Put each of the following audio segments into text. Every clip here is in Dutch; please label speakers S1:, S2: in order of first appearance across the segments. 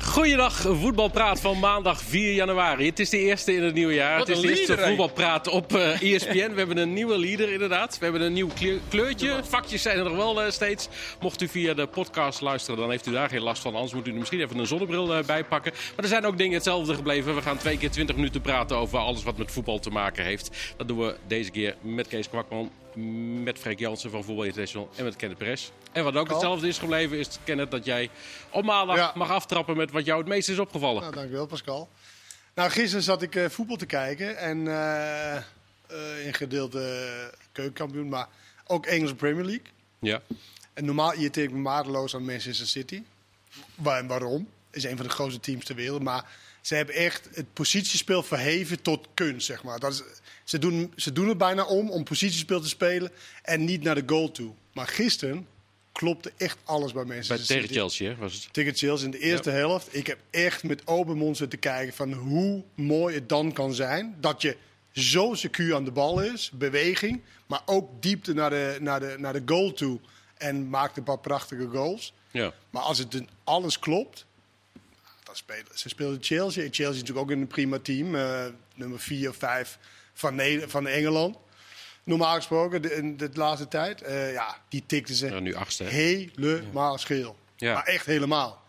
S1: Goeiedag, voetbalpraat van maandag 4 januari. Het is de eerste in het nieuwe jaar.
S2: Wat
S1: het is
S2: een
S1: de eerste
S2: leader, hè?
S1: voetbalpraat op eh ESPN. We hebben een nieuwe leader inderdaad. We hebben een nieuw kleur- kleurtje. Vakjes zijn er nog wel eh, steeds. Mocht u via de podcast luisteren, dan heeft u daar geen last van. Anders moet u er misschien even een zonnebril eh, bij pakken. Maar er zijn ook dingen hetzelfde gebleven. We gaan twee keer 20 minuten praten over alles wat met voetbal te maken heeft. Dat doen we deze keer met Kees Kwakman, met Freek Jansen van Voetbal International en met Kenneth Perez. En wat ook hetzelfde is gebleven, is Kenneth dat jij op maandag
S3: Ja.
S1: mag aftrappen met wat jou het meest is opgevallen.
S3: Nou, dankjewel Pascal. Nou, gisteren zat ik eh, voetbal te kijken en eh, eh, in gedeelte keukenkampioen, maar ook Engelse Premier League.
S1: Ja.
S3: En normaal irriteer ik me maardeloos aan Manchester City. Waar, en waarom? Is een van de grootste teams ter wereld, maar ze hebben echt het positiespel verheven tot kunst, zeg maar. Dat is, ze, doen, ze doen het bijna om, om positiespel te spelen en niet naar de goal toe. Maar gisteren klopte echt alles bij Manchester
S1: Bij,
S3: City.
S1: tegen Chelsea hè, was het.
S3: Tegen Chelsea in de eerste helft. Ik heb echt met open mond zitten kijken van hoe mooi het dan kan zijn. Dat je zo secuur aan de bal is, beweging, maar ook diepte naar de, naar de, naar de goal toe. En maakt een paar prachtige goals.
S1: Ja.
S3: Maar als het in alles klopt, dan spelen ze speelden Chelsea. En Chelsea is natuurlijk ook een prima team. eh, nummer 4 of 5 van, Nederland, van Engeland. Normaal gesproken, de, in de laatste tijd. eh, ja, die tikten ze
S1: Ja, Nou, nu achtste. hè.
S3: helemaal scheel.
S1: Ja.
S3: Maar echt helemaal.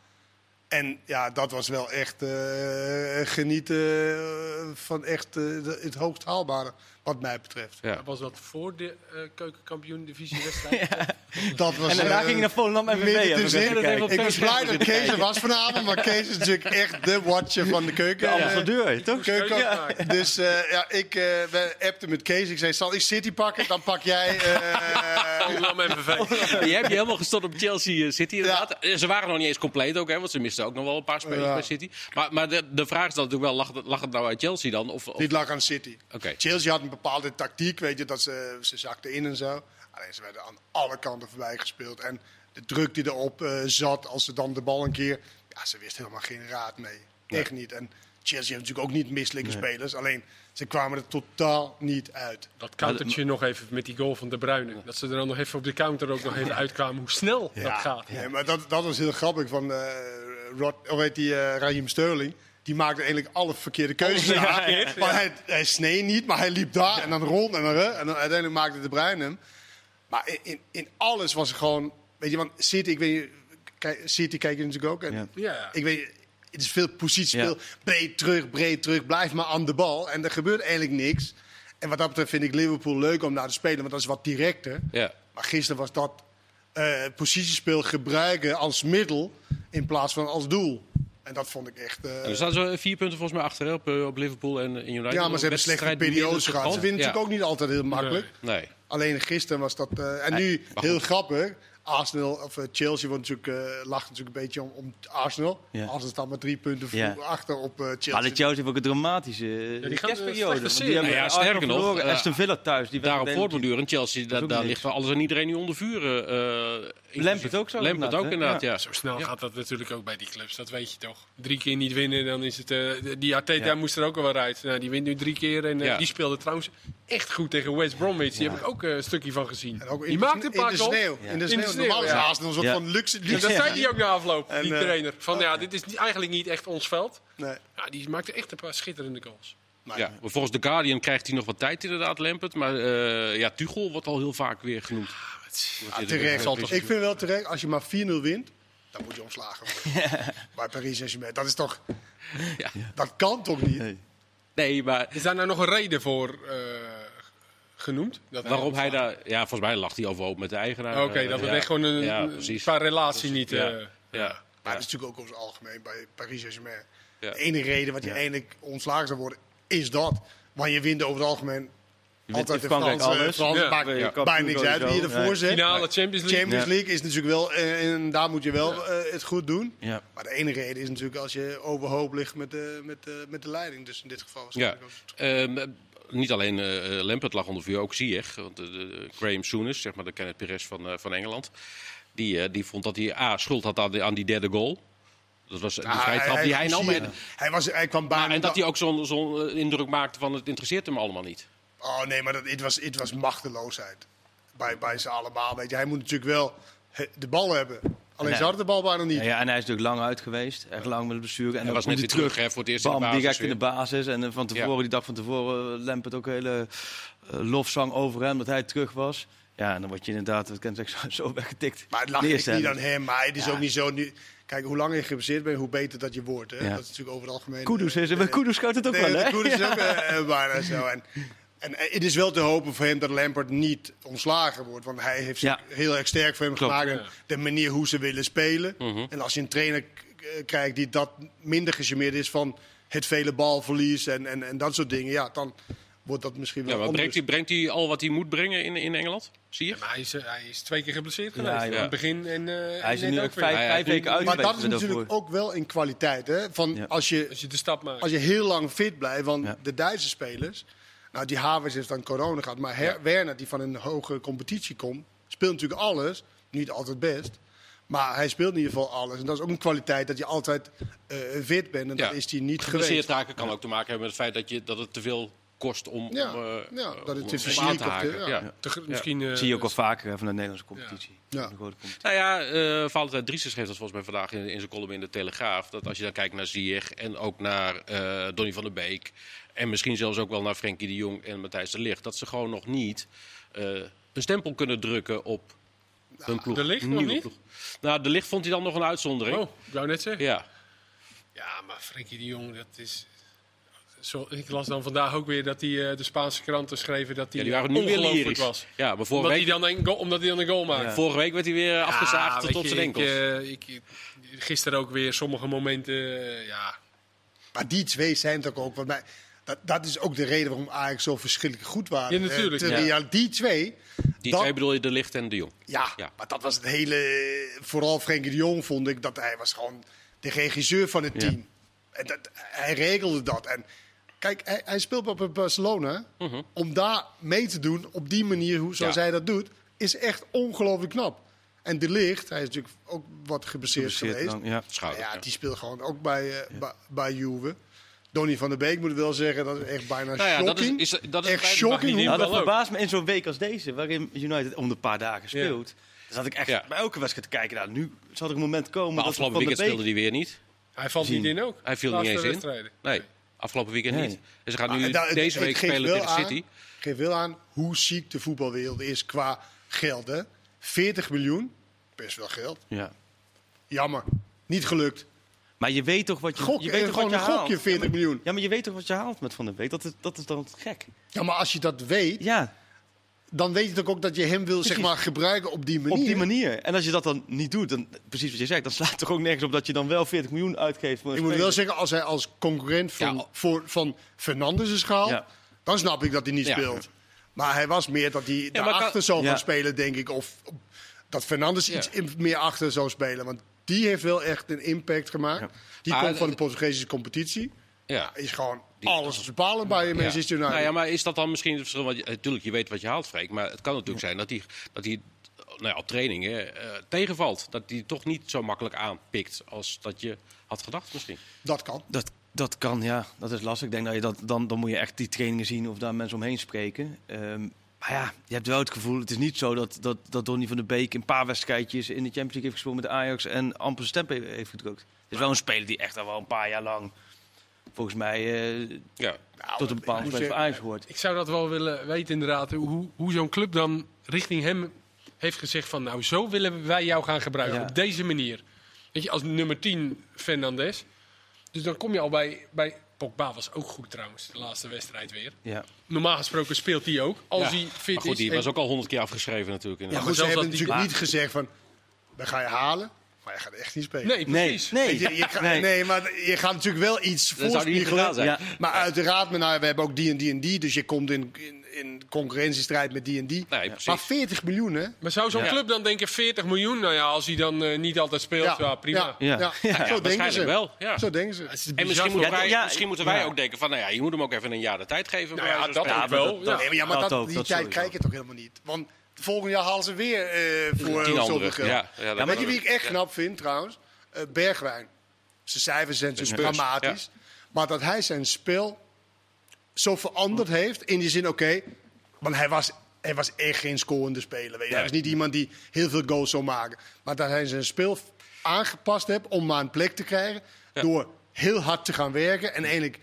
S3: En ja, dat was wel echt eh, genieten eh, van echt eh, de- het hoogst haalbare, wat mij betreft.
S1: Ja.
S2: Dat was wat voor de eh keukenkampioen divisie wedstrijd.
S3: Dat was,
S4: En daarna
S3: eh,
S4: ging ik naar Volendam en
S3: midden
S4: VV. heb ik
S3: tussenin.
S4: even gekeken.
S3: Ik was blij dat Kees er was vanavond, maar Kees is natuurlijk echt de watcher van de keuken.
S4: De
S3: Eh,
S4: ambassadeur, toch?
S3: Keuken.
S2: Ja.
S3: Dus eh, ja, ik eh we appten met Kees. Ik zei, zal ik City pakken? Dan pak jij... eh,
S2: Volendam en VV.
S1: Je hebt je helemaal gestort op Chelsea eh, City inderdaad. Eh, Ze waren nog niet eens compleet ook, hè, want ze misten ook nog wel een paar spelers
S3: Ja.
S1: bij City. Maar, maar de, de vraag is dan natuurlijk wel, lag, het- lag het nou uit Chelsea dan? Of, of-
S3: Niet lag aan City.
S1: Oké.
S3: Chelsea had een bepaalde tactiek, weet je, dat ze, ze zakten in en zo. Alleen ze werden aan alle kanten voorbij gespeeld. En de druk die erop eh, zat, als ze dan de bal een keer... Ja, ze wist helemaal geen raad mee. Echt niet. En Chelsea heeft natuurlijk ook niet misselijke spelers. Alleen, ze kwamen er totaal niet uit.
S2: Dat countertje nog even met die goal van De Bruyne. Dat ze er dan nog even op de counter ook nog even uitkwamen hoe snel dat gaat.
S3: Ja. maar dat, dat was heel grappig van eh Rod, hoe heet die, eh Raheem Sterling. Die maakte eigenlijk alle verkeerde keuzes. daar. Maar hij, hij snee niet, maar hij liep daar en dan rond en dan, eh, en dan uiteindelijk maakte de Bruin hem. Maar in, in, in alles was er gewoon, weet je, want City, ik weet, kijk, City kijk je natuurlijk ook. En
S4: Ja.
S2: Ja.
S3: Ik weet, het is veel positiespeel, breed terug, breed terug, blijf maar aan de bal. En er gebeurt eigenlijk niks. En wat dat betreft vind ik Liverpool leuk om naar te spelen, want dat is wat directer.
S1: ja.
S3: Maar gisteren was dat eh, positiespel gebruiken als middel in plaats van als doel. En dat vond ik echt. eh,
S1: En er staan zo vier punten volgens mij achter hè, op, eh, op Liverpool en eh, in United.
S3: ja, maar ze hebben
S1: Wedstrijd
S3: slechte
S1: minder
S3: periodes
S1: te
S3: gehad. Ze
S1: gaan.
S3: winnen
S1: Ja.
S3: natuurlijk ook niet altijd heel makkelijk.
S1: Nee.
S3: Alleen gisteren was dat. eh, en nu
S1: maar
S3: heel
S1: goed.
S3: grappig. Arsenal of eh, Chelsea wordt natuurlijk, eh, lacht natuurlijk een beetje om, om Arsenal.
S4: Ja.
S3: Arsenal staat maar drie punten
S4: Ja.
S3: voor- achter op eh,
S4: Maar de
S3: Chelsea.
S4: Chelsea heeft ook een dramatische
S2: die
S4: eh,
S2: gaan, eh,
S4: kerstperiode.
S2: slechte
S4: want
S2: serie.
S4: Die hebben
S1: Nou ja,
S4: Arsenal
S1: sterker nog,
S4: verloren.
S1: eh,
S4: Aston Villa thuis. Die
S1: Daarop
S4: wedstrijd-
S1: voortdurend. Chelsea, daar,
S4: ook
S1: daar
S4: niks.
S1: ligt wel alles en iedereen nu onder vuur. eh, eh, inclusief-
S4: ook zo
S1: Lampert ook inderdaad,
S4: inderdaad, hè?
S1: ja.
S2: Zo snel gaat dat natuurlijk ook bij die clubs, dat weet je toch. Drie keer niet winnen, dan is het... eh, die Arteta
S4: Ja.
S2: moest er ook al wel uit. Nou, die wint nu drie keer en eh,
S1: Ja.
S2: die speelde trouwens echt goed tegen West Bromwich. Die heb ik ook eh, een stukje van gezien.
S3: En ook in,
S2: die
S3: de,
S2: maakte een
S3: in
S2: paar
S3: de
S2: goals.
S3: sneeuw. In de
S2: In de
S3: sneeuw.
S2: sneeuw,
S3: Normaal is
S2: ja.
S3: Arsenal een soort
S4: Ja.
S3: van luxe.
S2: Ja, dat zei hij ook na afloop, die
S3: En, eh,
S2: trainer. Van ja, dit is niet- eigenlijk niet echt ons veld.
S3: Nee.
S2: Ja, die maakte echt een paar schitterende goals.
S3: Maar
S1: Ja, maar volgens The Guardian krijgt hij nog wat tijd inderdaad, Lampert. Maar eh, ja, Tuchel wordt al heel vaak weer genoemd.
S2: Ah,
S3: Ja, terecht. Ik vind wel terecht, als je maar 4-0 wint, dan moet je omslagen worden. Bij Paris Saint-Germain, dat is toch...
S1: Ja.
S3: Dat kan toch niet?
S4: Nee.
S1: Nee, maar
S2: Is daar nou nog een reden voor eh, genoemd? Dat
S1: waarom hij daar... Ja, volgens mij lag hij overhoop met de eigenaar.
S2: Oké,
S1: Eh,
S2: dat we
S1: ja.
S2: echt gewoon een,
S1: Ja,
S2: een
S1: precies.
S2: qua relatie niet...
S1: Ja.
S2: eh,
S1: Ja.
S3: Maar dat is natuurlijk ook ons algemeen bij Paris Saint-Germain.
S1: Ja.
S3: De enige reden wat je eigenlijk ontslagen zou worden, is dat. Want je wint over het algemeen
S4: wint
S3: altijd de
S4: in Frankrijk
S3: Franse.
S4: alles.
S3: Fransen
S2: Ja.
S3: maakt
S4: Ja.
S3: bijna
S4: Kampioen
S3: niks uit wie je
S4: sowieso.
S3: ervoor
S4: Nee.
S3: zet.
S2: Finale Champions League.
S3: Champions League is natuurlijk wel, eh, en daar moet je wel eh, het goed doen.
S4: Ja.
S3: Maar de enige reden is natuurlijk als je overhoop ligt met de, met de, met de leiding. Dus in dit geval was het
S1: Ja.
S3: natuurlijk ook-
S1: Ehm, eh, niet alleen eh Lampert lag onder vuur, ook Ziyech. Want de, de- Graham Souness, zeg maar de Kenneth Perez van, eh, van Engeland. Die, eh, die vond dat hij A, schuld had aan, die- aan die derde goal. Dat was die
S3: Ah,
S1: vrijtrap die Dus hij nam.
S3: hij,
S1: En,
S3: hij, was, hij kwam bijna...
S1: en dat hij ook zo'n zo'n eh, indruk maakte van het interesseert hem allemaal niet.
S3: Oh nee, maar dat, het, was, het was machteloosheid. Bij, bij ze allemaal. Weet je. Hij moet natuurlijk wel he- de bal hebben. Alleen
S4: Nee.
S3: ze hadden de bal bijna niet.
S4: Ja, ja, en hij is natuurlijk lang uit geweest. Echt lang met de blessure. En
S1: Hij
S4: dan
S1: was
S4: komt
S1: net weer terug, hè, voor het eerst in de
S4: Bam,
S1: basis.
S4: direct in de
S1: weer.
S4: basis. En eh, van tevoren,
S1: Ja.
S4: die dag van tevoren, eh, Lampert ook een hele eh, lofzang over hem, dat hij terug was. Ja, en dan word je inderdaad, dat kan ik zo, zo weggetikt.
S3: Maar het lag
S4: De
S3: echt
S4: eerste
S3: niet aan
S4: helft.
S3: hem. Maar het is
S4: Ja.
S3: ook niet zo nu. Kijk, hoe langer je geblesseerd bent, hoe beter dat je wordt. Hè?
S4: Ja.
S3: Dat is natuurlijk over het algemeen.
S4: Kudus,
S3: eh,
S4: is, maar Kudus schuilt het ook
S3: Nee,
S4: wel, hè?
S3: de Koen is ook eh, eh, bijna zo. En, en eh, het is wel te hopen voor hem dat Lampert niet ontslagen wordt. Want hij heeft zich
S4: Ja.
S3: heel erg sterk voor hem
S4: Klopt. Mhm.
S3: gemaakt. En de manier hoe ze willen spelen. En als je een trainer k- eh, krijgt die dat minder gecharmeerd is van het vele balverlies en, en, en dat soort dingen. Ja, dan wordt dat misschien wel
S1: Ja, maar brengt
S3: anders.
S1: hij, brengt hij al wat hij moet brengen in, in Engeland? Zie je?
S2: Maar hij is, eh, hij is twee keer geblesseerd
S4: Ja,
S2: geweest.
S4: ja.
S2: Aan het begin en eh,
S4: Hij is
S2: en
S4: er nu
S2: net
S4: ook
S2: weer.
S4: vijf,
S1: Ja, ja,
S4: vijf
S1: nu-
S4: weken uit
S3: Maar
S4: geweest
S3: dat is
S4: met
S3: natuurlijk
S4: daarvoor.
S3: ook wel in kwaliteit. Hè? Van
S4: Ja.
S3: als, je,
S2: Als je de stap maakt.
S3: als je heel lang fit blijft, want
S4: Ja.
S3: de Duitse spelers... Nou, die Havers heeft dan corona gehad. Maar Her- Werner, die van een hogere competitie komt, speelt natuurlijk alles. Niet altijd best. Maar hij speelt in ieder geval alles. En dat is ook een kwaliteit dat je altijd eh, fit bent. En
S1: Ja.
S3: dat is hij niet
S1: Geblesseerd
S3: geweest.
S1: raken kan ook te maken hebben met het feit dat, je, dat het te veel kost om,
S3: Ja,
S1: om, eh,
S3: ja, dat het
S1: om-
S3: te
S1: om
S3: fysiek
S1: aan
S3: of
S1: te
S3: te-
S1: haken.
S3: ja.
S1: ja.
S2: Te- misschien, eh,
S4: Zie je ook al vaker hè, van de Nederlandse competitie.
S3: Ja.
S4: Van de grote competitie.
S1: Nou ja, eh Valentijn Driessen schreef dat volgens mij vandaag in, in zijn column in de Telegraaf. Dat als je dan kijkt naar Ziyech en ook naar eh Donny van der Beek... en misschien zelfs ook wel naar Frenkie de Jong en Matthijs de Ligt... dat ze gewoon nog niet eh, een stempel kunnen drukken op hun ploeg.
S2: Nou, De Ligt nog
S1: Nieuwe
S2: niet?
S1: ploeg. Nou, de Ligt vond hij dan nog een uitzondering.
S2: Oh, ik wou net zeggen.
S1: Ja.
S2: Ja, maar Frenkie de Jong, dat is... Zo, ik las dan vandaag ook weer dat die, eh, de Spaanse kranten schreven dat
S1: ja,
S2: hij
S1: die waren nu weer
S2: ongelooflijk
S1: lyrisch.
S2: was.
S1: Ja, maar vorige
S2: Omdat hij,
S1: week,
S2: dan een goal, omdat hij dan een goal maakte.
S1: vorige week werd hij weer afgezaagd
S2: Ja,
S1: tot
S2: Ah, weet
S1: op
S2: je,
S1: zijn
S2: ik,
S1: enkels.
S2: eh, ik, gisteren ook weer sommige momenten, eh, ja...
S3: Maar die twee zijn toch ook... Want mij, dat, dat is ook de reden waarom Ajax zo verschrikkelijk goed waren.
S2: Ja, natuurlijk,
S3: Eh,
S2: ja.
S3: te- ja, die twee...
S1: die
S3: dat-
S1: twee bedoel je, de Ligt en de Jong.
S3: Ja,
S1: Ja.
S3: maar dat was het hele... Vooral Frenkie de Jong vond ik dat hij was gewoon de regisseur van het team. En dat, hij regelde dat. En kijk, hij, hij speelt op Barcelona. Om daar mee te doen, op die manier hoe, zoals
S1: Mhm. Ja.
S3: hij dat doet, is echt ongelooflijk knap. En De Ligt, hij is natuurlijk ook wat geblesseerd
S4: Geblesseerd
S3: geweest.
S4: lang, ja.
S1: Schouder.
S3: Ja,
S1: ja.
S3: die speelt gewoon ook bij, eh, bij, bij Juve. Donny van der Beek moet ik wel zeggen, dat is echt bijna
S1: Nou ja, dat is-
S3: shocking.
S1: is- dat is
S3: echt
S1: bijna- mag
S3: shocking.
S1: niet
S3: hoe-
S4: Nou, dat
S2: wel ook.
S4: verbaast me in zo'n week als deze, waarin United om de paar dagen speelt. Dan zat ik echt
S1: Ja.
S4: bij elke wedstrijd te kijken. Nou, nu zal er een moment komen
S1: Maar
S4: dat we
S1: afgelopen
S4: van de
S1: weekend speelde hij
S4: Beek-
S1: weer niet.
S2: Hij valt
S4: Zien.
S2: niet in ook.
S1: Hij viel
S2: Laatste
S1: niet eens in.
S2: wedstrijden.
S1: Nee, afgelopen weekend
S4: Nee.
S1: niet. En ze gaan
S3: Ah,
S1: nu
S3: en daar- het-
S1: deze
S3: het
S1: week
S3: geeft
S1: spelen
S3: wel
S1: tegen
S3: aan-
S1: City.
S3: geeft wel aan hoe ziek de voetbalwereld is qua geld. Hè? 40 miljoen, best wel geld.
S4: Ja.
S3: Jammer, niet gelukt.
S4: Maar je weet toch wat je,
S3: Gok,
S4: je
S3: eh,
S4: weet toch
S3: gewoon
S4: wat je
S3: een
S4: haalt.
S3: gokje 40 miljoen.
S4: Ja, maar je weet toch wat je haalt met Van der Beek? Dat is, dat is dan gek.
S3: Ja, maar als je dat weet,
S4: Ja,
S3: dan weet je toch ook dat je hem wil zeg maar, gebruiken op die manier.
S4: op die manier. En als je dat dan niet doet, dan, precies wat je zegt, dan slaat het toch ook nergens op dat je dan wel 40 miljoen uitgeeft. Voor een
S3: Ik moet wel
S4: speler.
S3: zeggen, als hij als concurrent van,
S1: Ja.
S3: voor, van Fernandes is gehaald,
S4: Ja.
S3: dan snap ik dat hij niet
S1: Ja.
S3: speelt. Maar hij was meer dat hij
S1: maar
S3: daarachter
S1: kan-
S3: zou
S4: Ja.
S3: gaan spelen, denk ik. Of dat Fernandes
S1: Ja.
S3: iets in- meer achter zou spelen. Want die heeft wel echt een impact gemaakt. Die
S1: Maar,
S3: komt van de
S1: eh,
S3: Portugese competitie.
S1: Ja.
S3: Is gewoon alles op zijn palen bij Manchester
S1: Ja.
S3: United.
S1: Nou ja, maar is dat dan misschien het verschil? Want je- natuurlijk, je weet wat je haalt, Freek. Maar het kan natuurlijk zijn dat hij dat die, nou ja, op trainingen eh, tegenvalt. Dat hij toch niet zo makkelijk aanpikt als dat je had gedacht misschien.
S3: Dat kan.
S4: Dat, dat kan, ja. Dat is lastig. Ik denk dat je dat, dan, dan moet je echt die trainingen zien of daar mensen omheen spreken. Ehm, maar ja, je hebt wel het gevoel, het is niet zo dat, dat, dat Donny van der Beek een paar wedstrijdjes in de Champions League heeft gespeeld met de Ajax en amper zijn stem he- heeft gedrukt. Het is wel een speler die echt al wel een paar jaar lang, volgens mij, eh,
S1: Ja.
S4: tot een
S3: Nou,
S4: bepaald
S3: moet
S4: moment van
S3: zeggen,
S4: Ajax hoort.
S2: Ik zou dat wel willen weten inderdaad, hoe, hoe zo'n club dan richting hem heeft gezegd van... nou, zo willen wij jou gaan gebruiken,
S4: Ja.
S2: op deze manier. Weet je, als nummer 10 Fernandes. Dus dan kom je al bij... bij Pogba was ook goed trouwens, de laatste wedstrijd weer.
S4: Ja.
S2: Normaal gesproken speelt hij ook, als
S1: Ja.
S2: hij fit
S1: maar goed,
S2: is.
S1: die
S2: En-
S1: was ook al honderd keer afgeschreven natuurlijk.
S3: Ja,
S1: inderdaad.
S3: goed, ze
S2: zelfs
S3: hebben
S2: als die-
S3: natuurlijk niet
S4: Maar-
S3: gezegd van, we gaan je halen, maar je gaat echt niet spelen.
S2: Nee,
S4: Nee,
S2: precies.
S4: nee.
S3: Weet je, je gaat- nee.
S4: nee.
S3: maar je gaat natuurlijk wel iets
S1: Dat zou hij niet
S3: voorspiegelen.
S1: gedaan zijn.
S4: Ja.
S3: Maar uiteraard, maar nou, we hebben ook die en die en die. Dus je komt in, in, in concurrentiestrijd met die en die.
S1: Nee, precies.
S3: maar 40 miljoen, hè?
S2: Maar zou zo'n
S4: Ja.
S2: club dan denken 40 miljoen? Nou ja, als hij dan eh, niet altijd speelt, ja, prima.
S3: Ja, ja.
S4: Ja. Ja,
S3: zo denken ze.
S1: waarschijnlijk wel, ja.
S3: Zo denken ze.
S1: En misschien,
S4: Ja,
S1: moeten wij,
S4: ja,
S1: misschien moeten wij
S4: ja.
S1: ook denken van, nou ja, je moet hem ook even een jaar de tijd geven.
S2: Nou
S1: bij
S2: ja,
S1: wijze van
S2: dat
S1: spreken.
S2: ook wel.
S4: dat- dat-
S2: ja.
S3: Nee, maar ja, maar
S4: Dat
S3: dat,
S4: ook,
S3: die
S4: dat
S3: tijd
S4: sowieso.
S3: kijk je toch helemaal niet? Want volgend jaar halen ze weer eh, voor
S1: Tien
S3: zoveel
S1: anderen. Ja,
S3: geld.
S1: ja, dat kan
S3: Weet je
S1: ook.
S3: wie ik echt knap vind trouwens? Eh, Bergwijn. Zijn cijfers zijn natuurlijk
S1: Spurs,
S3: dramatisch. Maar dat hij zijn spel zo veranderd heeft. In die zin, oké. want hij was Hij was echt geen scorende speler. Weet je. Hij is niet iemand die heel veel goals zou maken. Maar dat hij zijn speel aangepast heeft om maar een plek te krijgen. Door heel hard te gaan werken. En eigenlijk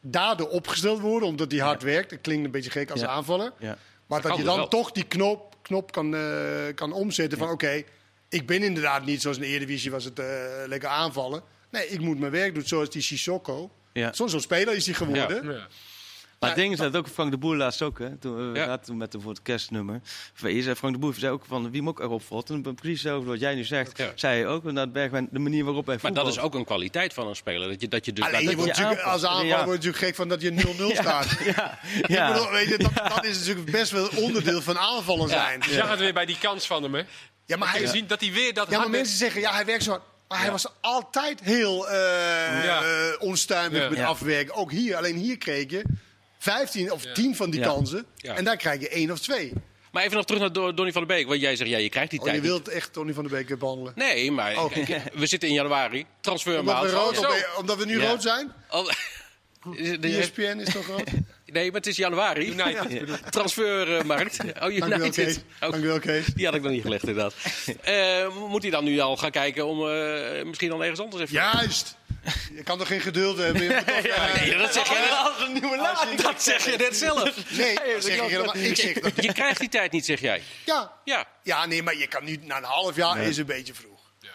S3: daardoor opgesteld worden, omdat hij hard werkt. Dat klinkt een beetje gek als
S4: Ja.
S3: aanvaller.
S4: Ja.
S3: Maar dat,
S1: kan
S3: je
S1: dus
S3: dan
S1: wel.
S3: toch die knop, knop kan, eh, kan omzetten van oké, ik ben inderdaad niet zoals in de Eredivisie was het eh, lekker aanvallen. Nee, ik moet mijn werk doen zoals die Sissoko.
S4: Ja.
S3: Zo'n zo'n speler is hij geworden.
S2: Ja.
S4: Maar het ding is dat ook Frank de Boer laatst ook, hè? Toen, we
S1: Ja.
S4: zaten toen met hem voor het kerstnummer. Of, Hier zei Frank de Boer zei ook van wie hem ook erop valt. En precies hetzelfde wat jij nu zegt,
S1: Ja.
S4: zei hij ook. Inderdaad, Bergwijn, de manier waarop hij
S1: Maar
S4: voetbalt.
S1: dat is ook een kwaliteit van een speler. Dat je, dat je dus
S3: Alleen
S1: laat-
S3: je wordt
S4: je
S3: natuurlijk, als
S4: aanpast.
S3: aanvaller
S4: Ja.
S3: word je natuurlijk gek van dat je 0-0 staat.
S4: Ja,
S3: Ik
S4: ja.
S3: bedoel, weet je, dat, dat is natuurlijk best wel onderdeel van aanvallen zijn.
S2: Je zag het weer bij die kans van hem, hè?
S3: Ja, maar, hij,
S2: Je ziet dat hij weer dat
S3: ja, maar
S2: harde-
S3: mensen zeggen, ja, hij werkt zo hard. Maar hij was altijd heel eh,
S2: Ja.
S3: eh, onstuimig
S2: Ja.
S3: met
S4: Ja.
S3: afwerken. Ook hier, alleen hier kreeg je 15 of 10 van die
S4: Ja.
S3: kansen.
S1: Ja.
S3: En daar krijg je 1 of 2.
S1: Maar even nog terug naar Do- Donny van der Beek. Want jij zegt, ja, je krijgt die
S3: Oh,
S1: tijd
S3: je
S1: niet.
S3: wilt echt Tony van der Beek behandelen.
S1: Nee, maar
S3: Oh.
S1: kijk, we zitten in januari.
S3: Omdat, we
S1: Transfermaand.
S3: rood,
S1: Zo.
S3: op- omdat we nu
S4: Ja.
S3: rood zijn? E
S1: Al- Oh. Is- de-
S3: ESPN Hm. is toch rood?
S1: Nee, maar het is januari.
S2: United, bedoel ik.
S1: Transfermarkt. Oh,
S3: Dank u wel,
S1: United.
S3: Kees.
S1: Oh,
S3: Dank u wel, Kees.
S1: die had ik nog niet gelegd, inderdaad. Eh, moet hij dan nu al gaan kijken om eh, misschien dan ergens anders even...
S3: Juist! Je kan toch geen geduld hebben? Je moet toch, eh,
S1: Nee, dat zeg jij net, Ah,
S4: een nieuwe laag.
S1: dat zeg je net zelf.
S3: Nee, dat zeg ik helemaal. Ik zeg dat.
S1: Je krijgt die tijd niet, zeg jij.
S3: Ja.
S1: Ja,
S3: ja, nee, maar je kan nu na een half jaar is een beetje vroeg.
S1: Ja,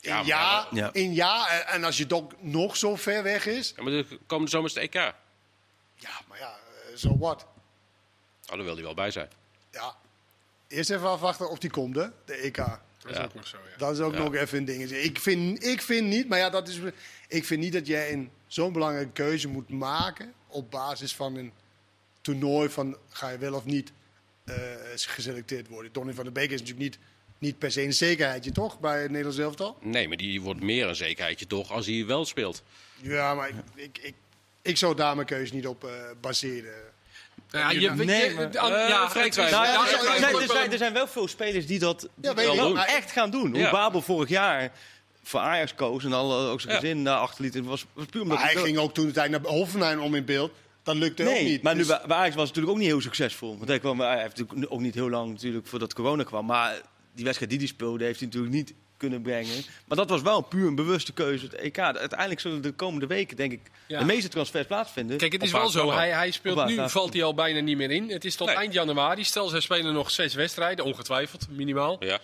S3: Ja.
S1: maar
S3: In ja,
S4: wel- Ja.
S3: in ja, eh, en- en als je dok nog zo ver weg is,
S1: Ja, maar de komende zomer is het EK. Oh,
S3: ja, maar ja, eh, zo wat.
S1: daar wil hij wel bij zijn.
S3: Ja. Eerst even afwachten of die komt, hè, de E EK.
S2: Dat is ook nog zo, ja.
S3: Dat is ook nog even een dingetje. Ik vind, ik vind niet, maar ja, dat is, ik vind niet dat jij een zo'n belangrijke keuze moet maken op basis van een toernooi van ga je wel of niet eh, geselecteerd worden. Donny van der Beek is natuurlijk niet, niet per se een zekerheidje, toch, bij het Nederlands elftal?
S1: Nee, maar die wordt meer een zekerheidje toch als hij wel speelt.
S3: Ja, maar ik, ik, ik, ik zou daar mijn keuze niet op eh, baseren.
S2: Ja, je, je,
S4: Nee,
S2: je-
S4: maar-
S2: de an-
S1: Eh,
S2: ja,
S1: Frank
S2: het is-
S1: Wijnald.
S4: Nou, ja,
S2: ja,
S3: dat is-
S2: ik
S3: dat is-
S2: wou- ik
S4: er, zijn,
S2: wou-
S4: er, zijn, er zijn wel veel spelers die dat
S3: Ja, weet
S1: Wel
S3: ik.
S1: doen.
S3: Maar
S4: echt gaan doen.
S1: Ja.
S4: Hoe Babel vorig jaar voor Ajax koos en al, eh, ook zijn
S1: Ja.
S4: gezin daar achterliet. Het was, was puur omdat
S3: Maar hij
S4: het-
S3: ging ook toen tijd naar Hoffenheim om in beeld. Dat lukte ook
S4: Nee,
S3: niet.
S4: maar nu
S3: Dus-
S4: bij, bij Ajax was het natuurlijk ook niet heel succesvol. Want hij, kwam, eh, hij heeft natuurlijk ook niet heel lang natuurlijk voordat corona kwam. Maar die wedstrijd die hij speelde heeft hij natuurlijk niet kunnen brengen. Maar dat was wel puur een bewuste keuze. Het EK. Uiteindelijk zullen de komende weken denk ik
S2: Ja.
S4: de meeste transfers plaatsvinden.
S2: Kijk, het is
S1: Op
S2: wel
S1: basis
S2: zo.
S1: daarvan.
S2: Hij, hij
S4: Op
S2: speelt
S4: basis
S2: nu,
S4: daarvan.
S2: valt hij al bijna niet meer in. Het is tot
S1: Nee.
S2: eind januari. Stel, zij spelen nog zes wedstrijden, ongetwijfeld, minimaal.
S1: Ja.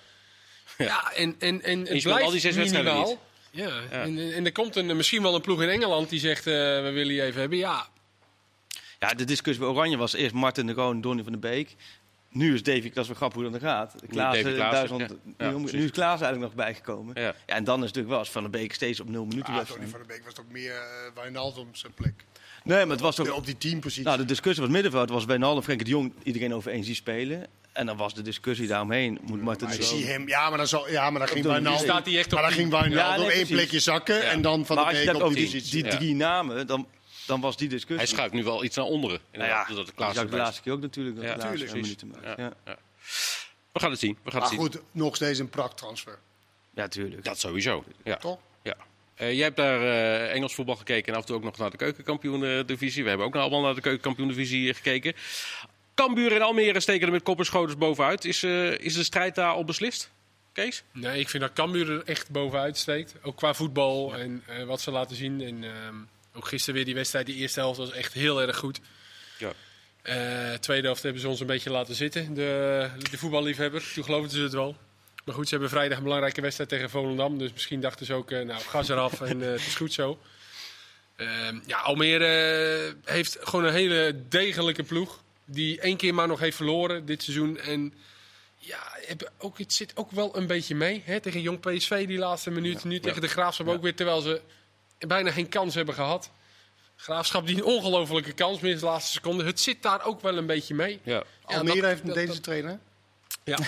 S2: Ja, en, en, en het
S1: speelt
S2: blijft
S1: al die zes wedstrijden
S2: minimaal. Ja, En, en- en er komt een, misschien wel een ploeg in Engeland die zegt, eh, we willen je even hebben. Ja,
S4: Ja, de discussie bij Oranje was eerst Martin de Roon, Donny van de Beek. Nu is Davy, dat is wel grappig hoe dat dan gaat. Klaassen,
S1: Davy Klaassen,
S4: Duitsland, eh,
S1: ja. Ja,
S4: nu- nu,
S1: precies.
S4: is Klaassen eigenlijk nog bijgekomen.
S1: Ja.
S4: Ja. en dan is natuurlijk wel als Van de Beek steeds op nul minuten
S3: Ah,
S4: blijft
S3: Donny
S4: staan.
S3: van der Beek was toch meer eh, Wijnaldum zijn plek.
S4: Nee, maar het was toch...
S3: Op die teampositie.
S4: Nou, de discussie was middenveld. was Wijnaldum, Frenkie de Jong, iedereen over eens die spelen. En dan was de discussie daaromheen. Moet Martin
S3: Maar
S4: de
S3: ik zie
S4: Roon...
S3: hem. Ja, maar dan, zal, ja, maar dan ging
S4: doe-
S3: Wijnaldum.
S2: staat hij echt op
S3: Maar dan
S2: tien.
S3: ging Wijnaldum
S4: Ja, nee,
S3: één
S4: precies.
S3: plekje zakken en dan van
S4: Maar
S3: de
S4: als je
S3: Beek
S4: dat
S3: op
S4: over
S3: die
S4: die,
S3: positie.
S4: die
S1: Ja.
S4: drie namen, dan, dan was die discussie.
S1: Hij schuift nu wel iets naar onderen.
S4: Nou
S1: Inderdaad,
S4: ja,
S1: doordat de
S4: dat
S1: Klaas
S4: zag ik de
S1: erbij is.
S4: laatste keer ook natuurlijk. Dat
S1: Ja,
S4: ja, de laatste
S1: tuurlijk.
S4: minuten maakt. Ja. Ja.
S1: We gaan het zien. We gaan
S3: Maar
S1: het zien.
S3: goed, nog steeds een prachttransfer.
S4: tuurlijk.
S1: Dat sowieso. Ja.
S3: Toch?
S1: Ja. Eh, jij hebt daar eh, Engels voetbal gekeken en af en toe ook nog naar de keukenkampioen-divisie. We hebben ook nog allemaal naar de keukenkampioen-divisie eh, gekeken. Cambuur en Almere steken er met kopperschouders bovenuit. Is, eh, is de strijd daar al beslist, Kees?
S2: nee, ik vind dat Cambuur er echt bovenuit steekt. Ook qua voetbal en eh, wat ze laten zien. En ehm, ook gisteren weer die wedstrijd, die eerste helft was echt heel erg goed.
S1: Ja.
S2: Eh, tweede helft hebben ze ons een beetje laten zitten, de, de voetballiefhebber. Toen geloofden ze het wel. Maar goed, ze hebben vrijdag een belangrijke wedstrijd tegen Volendam. Dus misschien dachten ze ook, eh, nou, gas eraf en eh, het is goed zo. Ehm, ja, Almere eh, heeft gewoon een hele degelijke ploeg. Die één keer maar nog heeft verloren dit seizoen. En ja, heb ook, het zit ook wel een beetje mee. Hè? Tegen Jong PSV die laatste minuut. Nu tegen de Graafschap ook weer, terwijl ze bijna geen kans hebben gehad. Graafschap die een ongelofelijke kans mist de laatste seconde. Het zit daar ook wel een beetje mee.
S1: Ja. Dus
S2: Ja,
S3: Almere
S2: dat-
S3: heeft een
S2: dat-
S3: deze trainer.
S2: Ja. dus